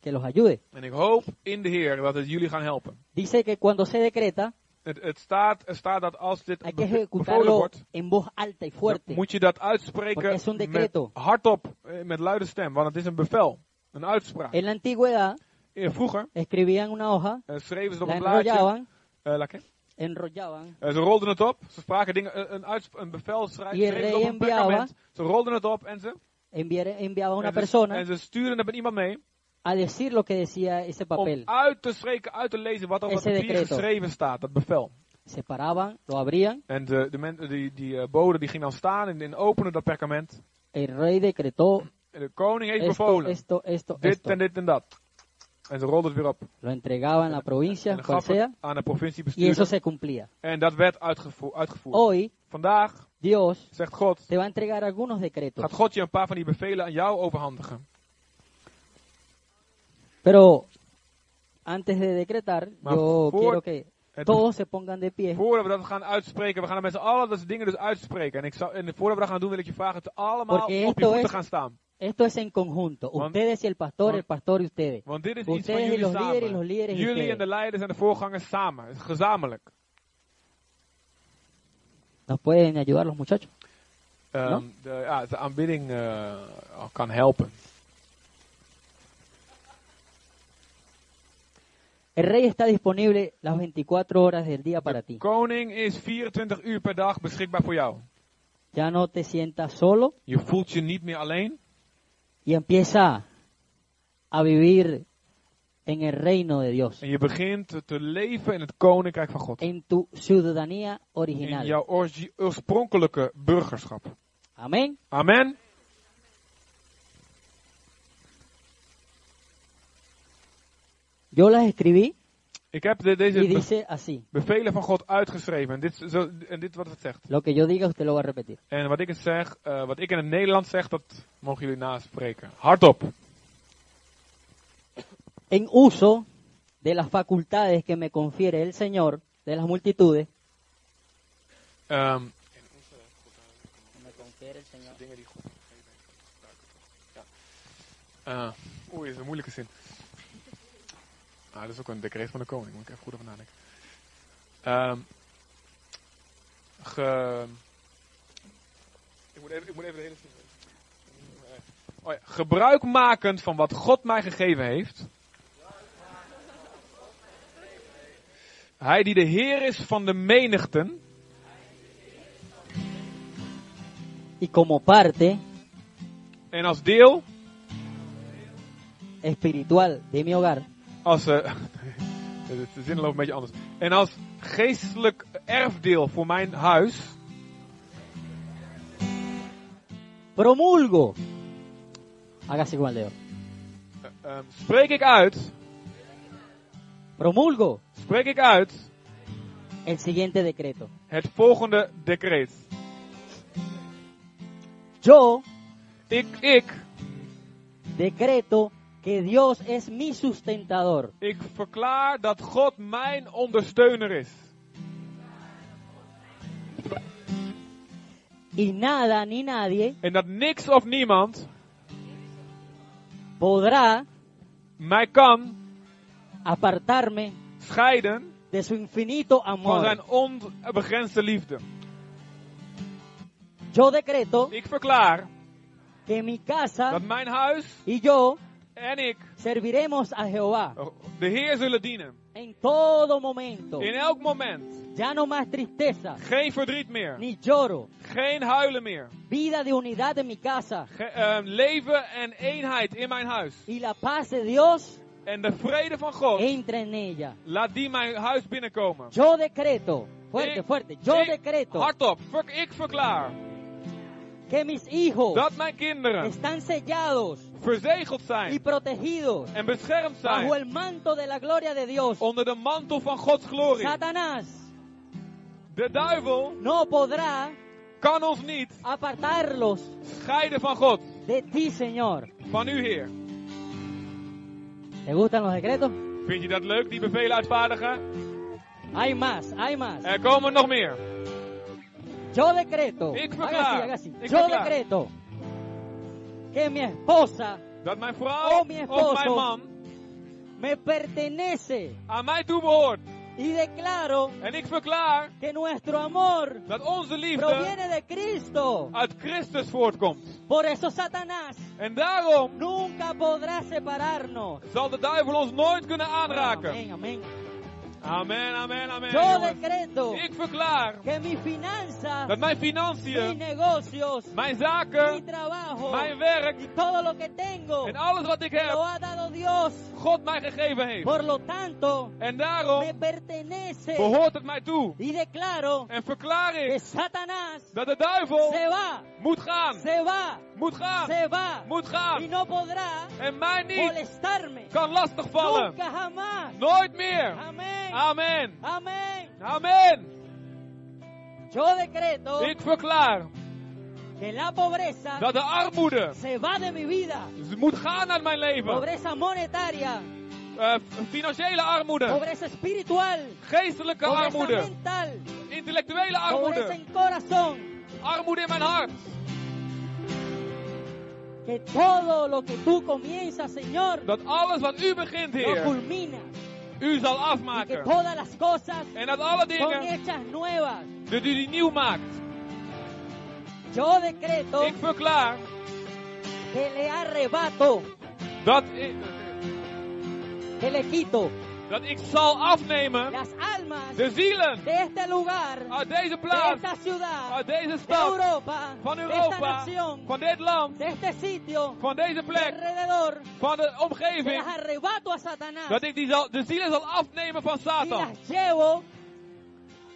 que los ayude.
En ik hoop in de Heer dat het jullie gaan helpen.
Dice que cuando se decreta
Het, het, staat, er staat dat als dit
hay que
beve- bevolen
ejecutarlo
wordt,
en voz alta y
dan
fuerte.
moet je dat
Porque
uitspreken
es un
met
decreto.
hardop, eh, met luide stem, want het is een bevel, een uitspraak.
En la antigüedad
Eh, Vroeger
escribían una hoja,
eh, schreven ze op
la
een blaadje,
enrollaban,
eh, lakke.
enrollaban
Eh, ze rolden het op, ze spraken dingen, eh, een, een, uitsp- een bevel schrijven,
Je
schreven ze op een
reen biauwa.
perkament. Ze rolden het op en ze,
enviar- enviaba a una
en ze,
persona
en ze stuurden het met iemand mee
a decir lo que decía ese
om
papel.
uit te spreken, uit te lezen wat op het
Ese
papier
decreto.
geschreven staat, dat bevel.
Se paraban, lo abrían,
En de, de men, die, die eh, bode die ging dan staan en, en openen dat perkament.
el rey decretó
En de koning heeft
esto,
bevolen,
esto, esto,
dit
esto.
en dit en dat. En ze rolden het weer op.
Lo entregaba en la provincia,
en
cual
gaf het
sea,
aan de
y
provinciebestuurder.
eso se cumplía.
En dat werd uitgevo- uitgevoerd.
Hoy
Vandaag,
Dios
zegt God,
te va a entregar algunos decretos,
gaat God je een paar van die bevelen aan jou overhandigen.
pero antes de decretar,
Maar
yo
voor-
quiero que
Het
todos se pongan de pie
Voordat we dat gaan uitspreken, we gaan er met z'n allen dat soort dingen dus uitspreken. En, ik zou, en voordat we dat gaan doen, wil ik je vragen het allemaal
Porque
op je
esto
voeten
es-
gaan staan.
Esto es en conjunto.
Want-
Ustedes y el pastor,
want-
el pastor y ustedes.
Want dit is iets van
Ustedes y
jullie
los
samen.
líderes y los líderes y
jullie en de
ustedes.
leiders en de voorgangers samen. Het is Gezamenlijk.
¿Nos pueden ayudar los muchachos?
Ehm,
Ja?
de, ja, de aanbidding eh, kan helpen.
El rey está disponible las 24 horas del día para ti.
Koning is 24 uur per dag beschikbaar voor jou.
Ya no te sientas solo
Je voelt je niet meer alleen.
y empieza a vivir en el reino de Dios,
En je begint te leven in het koninkrijk van God.
en tu ciudadanía
In
original.
jouw orgi- oorspronkelijke burgerschap.
Amén.
Amen.
Yo las escribí
Ik heb de- deze
y
be-
dice así.
bevelen van God uitgeschreven. En dit, is zo, en dit wat het zegt.
Lo que yo diga usted lo va a repetir.
En wat ik, het zeg, eh, wat ik in het Nederlands zeg, dat mogen jullie naspreken. Hardop.
En uso de las facultades que me confiere el Señor de las multitudes.
Ehm, dingen die God gegeven heeft, gebruik het toch. Ja. Eh, oei, is een moeilijke zin. Ah, dat is ook een decreet van de koning, moet ik even goed over nadenken. Ehm, ge- ik, moet even, ik moet even de hele zin. Oh ja, gebruikmakend van wat God mij gegeven heeft. Hij die de Heer is van de menigten.
Y como parte
En als deel
espiritual de mi hogar,
Als, eh, Het is- De zin loopt een beetje anders. En als geestelijk erfdeel voor mijn huis
Promulgo. Haga así con el dedo.
ehm, spreek ik uit,
Promulgo
spreek ik uit
el siguiente decreto.
het volgende decreet.
Yo
Ik, ik,
decreto que Dios es mi sustentador.
ik verklaar dat God mijn ondersteuner is.
Y nada ni nadie
En dat niks of niemand
podrá
mij kan
apartarme
scheiden
de su infinito
van zijn
amor.
onbegrensde liefde.
Yo decreto
Ik verklaar
que mi casa
dat mijn huis
y yo
en ik oh,
serviremos a Jehová
de Heer zullen dienen.
en todo momento.
In elk moment.
Ya no más tristeza
Geen verdriet meer.
ni lloro.
Geen huilen meer.
Vida de unidad en mi casa
Ge- ehm, leven en eenheid in mijn huis.
y la paz de Dios
En de vrede van God,
entra en ella.
laat die mijn huis binnenkomen.
Yo decreto, fuerte,
Ik-
fuerte, yo
ik-
decreto
Hardop, fuck, ik verklaar
que mis hijos
dat mijn kinderen
están sellados
verzegeld
y
zijn
protegidos
en beschermd
bajo
zijn
el manto de la gloria de Dios.
onder de mantel van Gods glorie.
Satanás
De duivel
no podrá
kan ons niet
apartarlos
scheiden van God,
de ti, Señor.
van u Heer.
¿Te gustan los decretos?
Vind je dat leuk, die bevelen uitvaardigen?
Hay más, hay más.
Er komen nog meer.
Yo decreto,
Ik
haga así,
verklaar.
haga así.
Ik
Yo
verklaar.
decreto que mi esposa
Dat mijn vrouw
Oh, mijn
of mijn
esposo.
man
me pertenece
aan mij toebehoort.
y declaro
En ik verklaar
que nuestro amor
dat onze liefde
proviene de Cristo.
uit Christus voortkomt.
Por eso Satanás
En daarom
nunca podrá separarnos.
zal de duivel ons nooit kunnen aanraken.
Amén, amén.
Amen, amen, amen.
Yo
jongens.
decreto
Ik verklaar
que mis finanzas,
dat mijn
mis
financiën,
negocios,
mijn
mi
zaken,
trabajo
mijn
y
werk
todo lo que tengo
en alles wat ik
lo
heb,
ha dado Dios.
God mij gegeven heeft.
Por lo tanto,
En
me
daarom
pertenece
behoort het mij toe.
y declaro
En verklaar
que
ik
Satanás
dat de duivel
se va,
moet gaan,
se va,
moet gaan,
se va
moet
y
gaan.
no podrá
En mij niet
molestarme
kan lastigvallen.
nunca jamás.
Nooit meer.
Amén,
Amen.
amén.
Amen.
Yo decreto
Ik verklaar
que la pobreza
dat de armoede
se va de mi vida.
moet gaan uit mijn leven.
Pobreza monetaria,
Eh, financiële armoede,
pobreza espiritual,
geestelijke
pobreza
armoede,
mental,
intellectuele
pobreza
armoede,
en corazón.
armoede in mijn hart.
Que todo lo que tú comienzas, Señor,
Dat alles wat u begint,
lo
Heer,
culmina.
u zal
Y que
afmaken.
todas las cosas
En dat alle
son
dingen,
hechas nuevas.
dat u die nieuw maakt.
Yo decreto
Ik verklaar
que le arrebato,
dat ik,
que le quito
dat ik zal afnemen
las almas
de zielen
de este lugar,
uit deze
de
plaats,
esta ciudad,
uit deze
de
stad,
Europa,
van
de esta
Europa,
nación,
van dit land,
de este sitio,
van deze
de
plek,
alrededor,
van de
se las
omgeving.
arrebato a Satanás
Dat ik die zal, de zielen zal afnemen van
y
Satan.
las llevo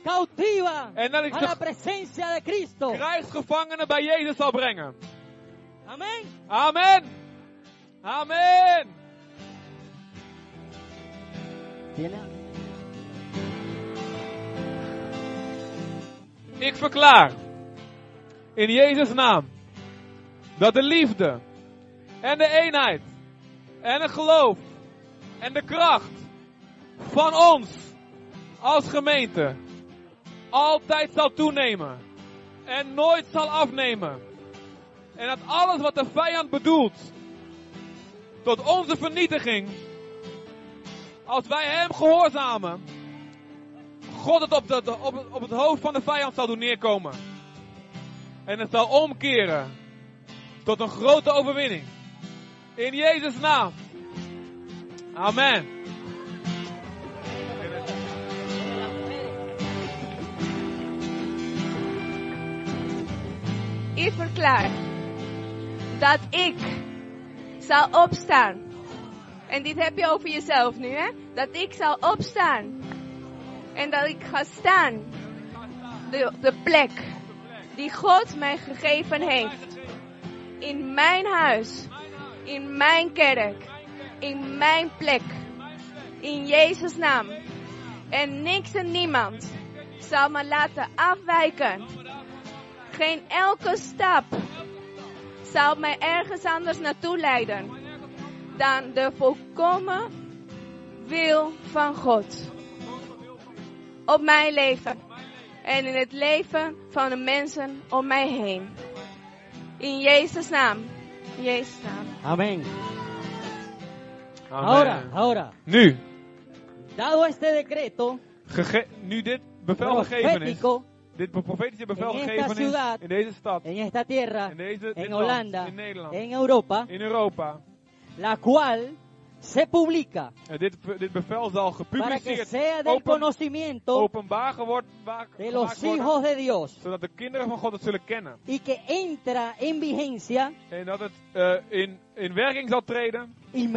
cautiva
En dat ik
a la
de
presencia de Cristo.
krijgsgevangenen bij Jezus zal brengen.
Amén.
Amen. Amen. Ik verklaar in Jezus' naam dat de liefde en de eenheid en het geloof en de kracht van ons als gemeente altijd zal toenemen en nooit zal afnemen. En dat alles wat de vijand bedoelt tot onze vernietiging, als wij hem gehoorzamen, God het op, de, op, op het hoofd van de vijand zal doen neerkomen. En het zal omkeren tot een grote overwinning. In Jezus' naam. Amen.
Ik verklaar dat ik zal opstaan En dit heb je over jezelf nu, hè? Dat ik zal opstaan. En dat ik ga staan. De, de plek die God mij gegeven heeft. In mijn huis. In mijn kerk. In mijn plek. In Jezus' naam. En niks en niemand zal me laten afwijken. Geen elke stap zal mij ergens anders naartoe leiden dan de volkomen wil van God. Op mijn leven en in het leven van de mensen om mij heen. In Jezus' naam. In Jezus' naam.
Amén.
Amen.
Ahora, ahora,
Nu,
dado este decreto
gege- nu dit bevel gegeven is,
profético
dit be- profetische bevel
In esta
gegeven is,
ciudad.
in deze stad,
en esta tierra,
in deze dit
en
land,
Holanda,
in Nederland,
en Europa,
in Europa.
la cual se publica
En dit, dit bevel
para
zal
que
gepubliceerd,
sea del
open-
conocimiento
openbaar geword, waar-
de
gemaakt
los
worden,
hijos de Dios
zodat de kinderen van God het zullen kennen.
y que entra en vigencia
En dat het eh, in, in werking zal treden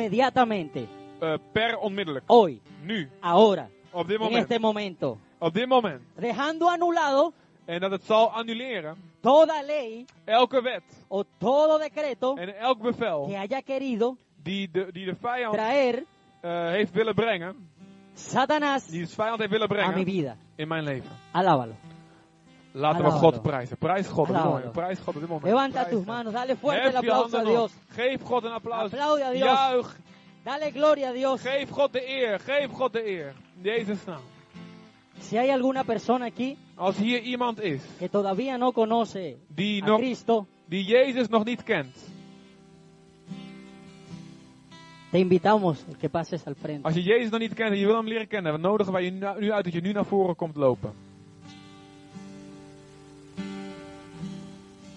inmediatamente,
eh, per onmiddellijk.
hoy,
Nu,
ahora,
op dit
en
moment.
este momento,
Op dit moment.
dejando anulado
En dat het zal annuleren
toda ley
elke wet
o todo decreto
en elk bevel
que haya querido
die de, die de vijand
traer
eh, heeft willen brengen,
Satanás
die de vijand heeft
a
willen
mi
brengen
vida.
in mijn leven.
Alábalo.
Laten we
Hallo, hallo.
God prijzen. Prijs God op dit
Hallo,
moment.
hallo.
Prijs God op dit moment.
Levanta
Prijs
tus
Hem.
manos, dale fuerte el
Hef je
aplauso a
handen
Dios.
nog. Geef God een applaus.
Aplaude a Dios.
Juich.
Dale gloria a Dios.
Geef God de eer. Geef God de eer. In Jezus naam.
Si hay alguna persona aquí
Als hier iemand is
que todavía no conoce
die,
a
nog,
Cristo,
die Jezus nog niet kent.
te invitamos a que pases al frente.
Als je Jezus nog niet kent en je wil hem leren kennen, dan nodigen wij je na- nu uit dat je nu naar voren komt lopen.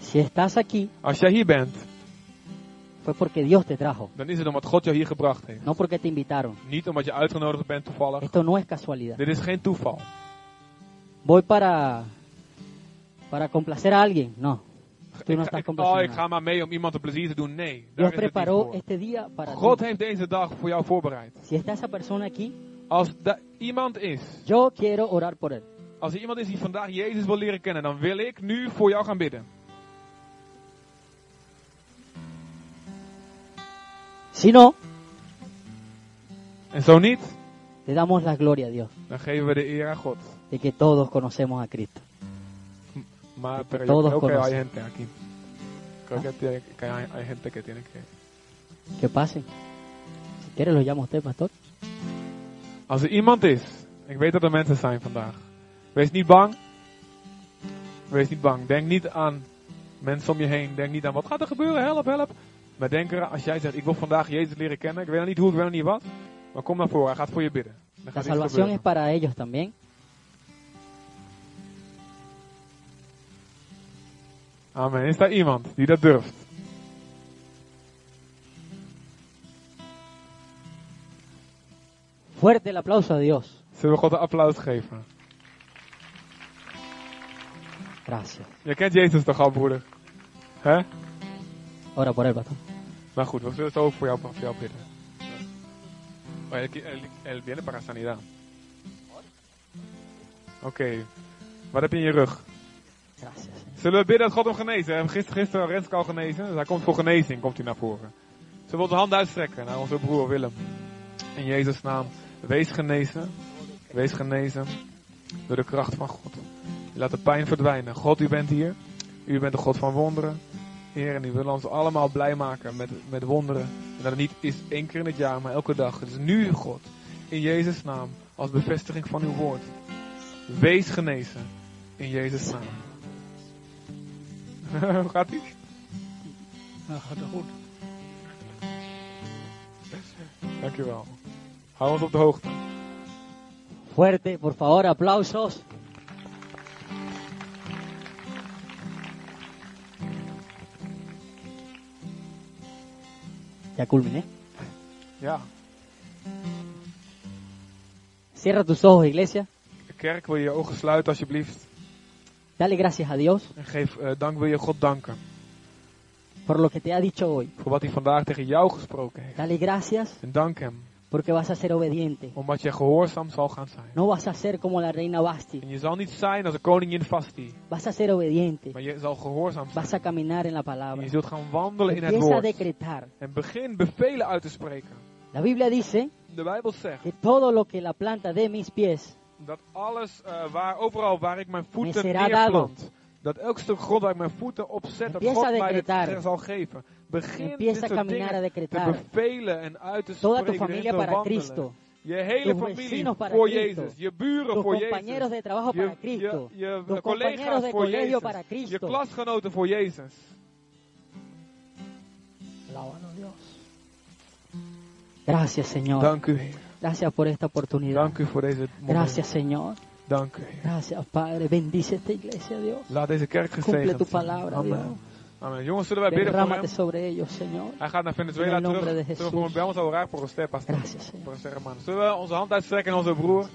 Si estás aquí,
Als jij hier bent,
fue porque Dios te trajo,
dan is het omdat God jou hier gebracht heeft.
no porque te invitaron.
Niet omdat je uitgenodigd bent toevallig.
Esto no es casualidad.
Dit is geen toeval.
Voy para para complacer a alguien. No, tú no
Ik
estás
ga, ik- oh, ik
complaciendo. a
ga
nadie.
maar mee om iemand een plezier te doen. Nee. daar
Dios
is het niet
preparó
voor.
este día para
God
ti.
heeft deze dag voor jou voorbereid.
Si está esa persona aquí,
Als da- iemand is,
yo quiero orar por él.
als er iemand is die vandaag Jezus wil leren kennen, dan wil ik nu voor jou gaan bidden.
Si no,
En zo niet,
le damos la gloria a Dios
dan geven we de eer aan God.
de que todos conocemos a Cristo.
Maar
Que
pero yo
todos
creo que hay
conocen.
gente aquí. Creo que, tiene- que hay, hay gente que tiene que.
Que pasen. Si quiere lo llama usted, pastor.
Als er iemand is, ik weet dat er mensen zijn vandaag. Wees niet bang. Wees niet bang. Denk niet aan mensen om je heen. Denk niet aan wat gaat er gebeuren. Help, help. Maar denk eraan, als jij zegt, ik wil vandaag Jezus leren kennen. Ik weet nog niet hoe, ik weet nog niet wat. Maar kom naar voren. Hij gaat voor je bidden. Dan
La
gaat iets
salvación es
gebeuren.
para ellos también.
Amen. Is daar iemand die dat durft?
Fuerte el aplauso a Dios.
Zullen we God een applaus geven?
Gracias.
Je kent Jezus toch al, broeder? Hè?
Ora por él, pastor.
Maar goed, we zullen zo voor jou, voor jou bidden. Oh, él, qui- él- él viene para sanidad. Oké, wat heb je in je rug?
Gracias. Señor.
Zullen we bidden dat God hem genezen? Hij heeft Gisteren, gisteren Renske al genezen, dus hij komt voor genezing, komt hij naar voren. Zullen we onze hand uitstrekken naar onze broer Willem? In Jezus' naam, wees genezen. Wees genezen door de kracht van God. Laat de pijn verdwijnen. God, u bent hier. U bent de God van wonderen. Heer, en u wil ons allemaal blij maken met, met wonderen. En dat het niet is één keer in het jaar, maar elke dag. Het is nu, God, in Jezus' naam, als bevestiging van uw woord. Wees genezen, in Jezus' naam. Hoe gaat ie?
Nou, gaat het goed.
Dankjewel. Hou ons op de hoogte.
Fuerte, por favor, aplausos. Ya culminé.
Ja,
Cierra tus ojos, iglesia.
de kerk wil je je ogen sluiten alsjeblieft.
Dale gracias a Dios
En geef eh, dank wil je God danken.
por lo que te ha dicho hoy.
voor wat hij vandaag tegen jou gesproken heeft.
Dale gracias
En dank hem,
porque vas a ser obediente.
omdat je gehoorzaam zal gaan zijn.
No vas a ser como la reina Basti,
En je zal niet zijn als de koningin Vasti,
vas a ser obediente.
maar je zal gehoorzaam zijn.
Vas a caminar en la
En
palabra.
je zult gaan wandelen in het
Empieza a
woord.
decretar.
En begin bevelen uit te spreken.
La Biblia dice
De Bijbel zegt
que todo lo que la planta de mis pies
dat alles, eh, waar, overal waar ik mijn voeten
Mesera dado.
neerplant, dat elk stuk grond waar ik mijn voeten op zet, dat
Empieza
God
a
mij
decretar.
dit zal geven. Begin dit
empieza a
soort
caminar a
dingen te
decretar.
bevelen en uit te
Toda
spreken
tu
en te
familia para
wandelen.
Cristo,
Je hele
Tus
familie
vecinos para
voor
Cristo.
Jezus. Je buren
tus
voor Jezus.
compañeros de trabajo
Je,
para
je,
Cristo,
je
tus compañeros
collega's
de pues,
voor
colegio para
Jezus. Je
Cristo.
klasgenoten voor Jezus.
Alabado Dios.
Gracias, Señor.
Dank u, Heer.
Gracias por esta oportunidad.
Dank u voor deze moment.
Gracias, Señor.
Dank u, Heer.
Gracias, Padre. Bendice esta iglesia, Dios.
Laat deze kerk
Cumple tu
gezegend zijn.
palabra, Dios.
Amen. Amen. Jongens, zullen wij bidden voor hem?
Derrámate sobre ellos, Señor.
Hij gaat naar
In
Venezuela
el nombre
terug.
de
Zullen we
Jesús.
gewoon bij ons al raar voor een ster passen?
Gracias, Señor.
Voor een ster, man. Zullen we onze hand uitstrekken aan onze broer?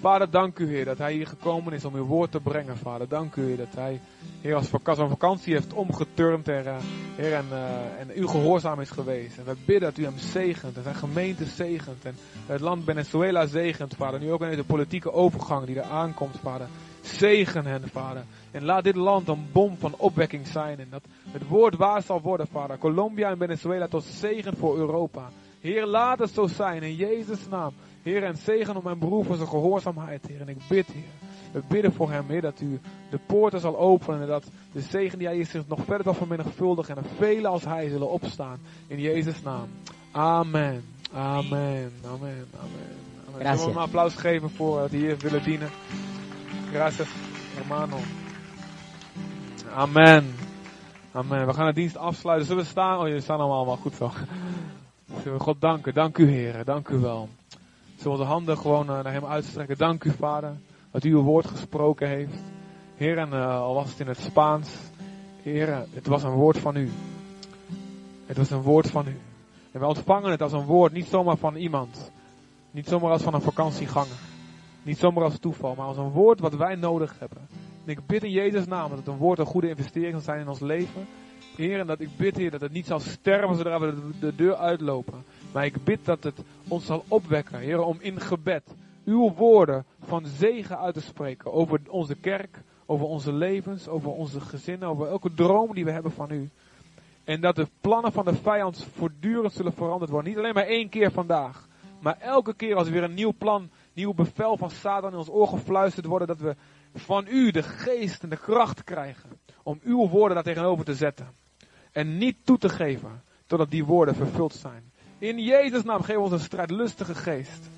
Vader, dank u, Heer, dat hij hier gekomen is om uw woord te brengen, Vader. Dank u, Heer, dat hij, Heer, als vak- zijn vakantie heeft omgeturnd, Heer, eh, heer en, eh, en u gehoorzaam is geweest. En we bidden dat u hem zegent, en zijn gemeente zegent, en het land Venezuela zegent, Vader. Nu ook in deze politieke overgang die er aankomt, Vader. Zegen hen, Vader. En laat dit land een bom van opwekking zijn. En dat het woord waar zal worden, Vader. Colombia en Venezuela tot zegen voor Europa. Heer, laat het zo zijn in Jezus' naam. Heer, en zegen om mijn broer voor zijn gehoorzaamheid, Heer. En ik bid, Heer. We bidden voor hem, Heer, dat u de poorten zal openen. En dat de zegen die hij is zich nog verder zal vermenigvuldigen. En er velen als hij zullen opstaan. In Jezus' naam. Amen. Amen. Amen. Amen. Amen.
Gracias.
Zullen we hem een applaus geven voor dat die hier willen dienen. Gracias, hermano. Amen. Amen. We gaan de dienst afsluiten. Zullen we staan? Oh, jullie staan allemaal wel goed zo. Zullen we God danken? Dank u, heren. Dank u wel. Zullen we onze handen gewoon eh, naar hem uitstrekken? Dank u, vader, dat u uw woord gesproken heeft. Heer, en eh, al was het in het Spaans. Heer, het was een woord van u. Het was een woord van u. En wij ontvangen het als een woord, niet zomaar van iemand. Niet zomaar als van een vakantieganger. Niet zomaar als toeval, maar als een woord wat wij nodig hebben. En ik bid in Jezus' naam dat het een woord een goede investering zal zijn in ons leven. Heer, en dat ik bid, Heer, dat het niet zal sterven zodra we de, de deur uitlopen. Maar ik bid dat het ons zal opwekken, Heer, om in gebed uw woorden van zegen uit te spreken over onze kerk, over onze levens, over onze gezinnen, over elke droom die we hebben van u. En dat de plannen van de vijand voortdurend zullen veranderd worden. Niet alleen maar één keer vandaag, maar elke keer als er weer een nieuw plan, nieuw bevel van Satan in ons oor gefluisterd worden, dat we van u de geest en de kracht krijgen om uw woorden daar tegenover te zetten. En niet toe te geven totdat die woorden vervuld zijn. In Jezus' naam geef ons een strijdlustige geest.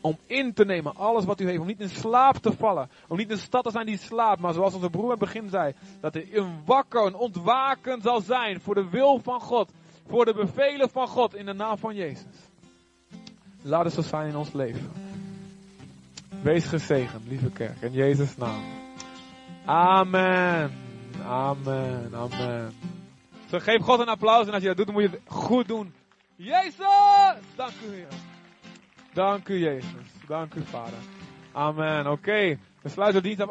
Om in te nemen alles wat u heeft. Om niet in slaap te vallen. Om niet een stad te zijn die slaapt. Maar zoals onze broer in het begin zei. Dat er een wakker, een ontwaken zal zijn. Voor de wil van God. Voor de bevelen van God. In de naam van Jezus. Laat het zo zijn in ons leven. Wees gezegend, lieve kerk. In Jezus' naam. Amen. Amen. Amen. Zo, geef God een applaus. En als je dat doet, dan moet je het goed doen. Jezus! Dank u, Heer. Dank u, Jezus. Dank u, Vader. Amen. Oké. We sluiten de dienst af.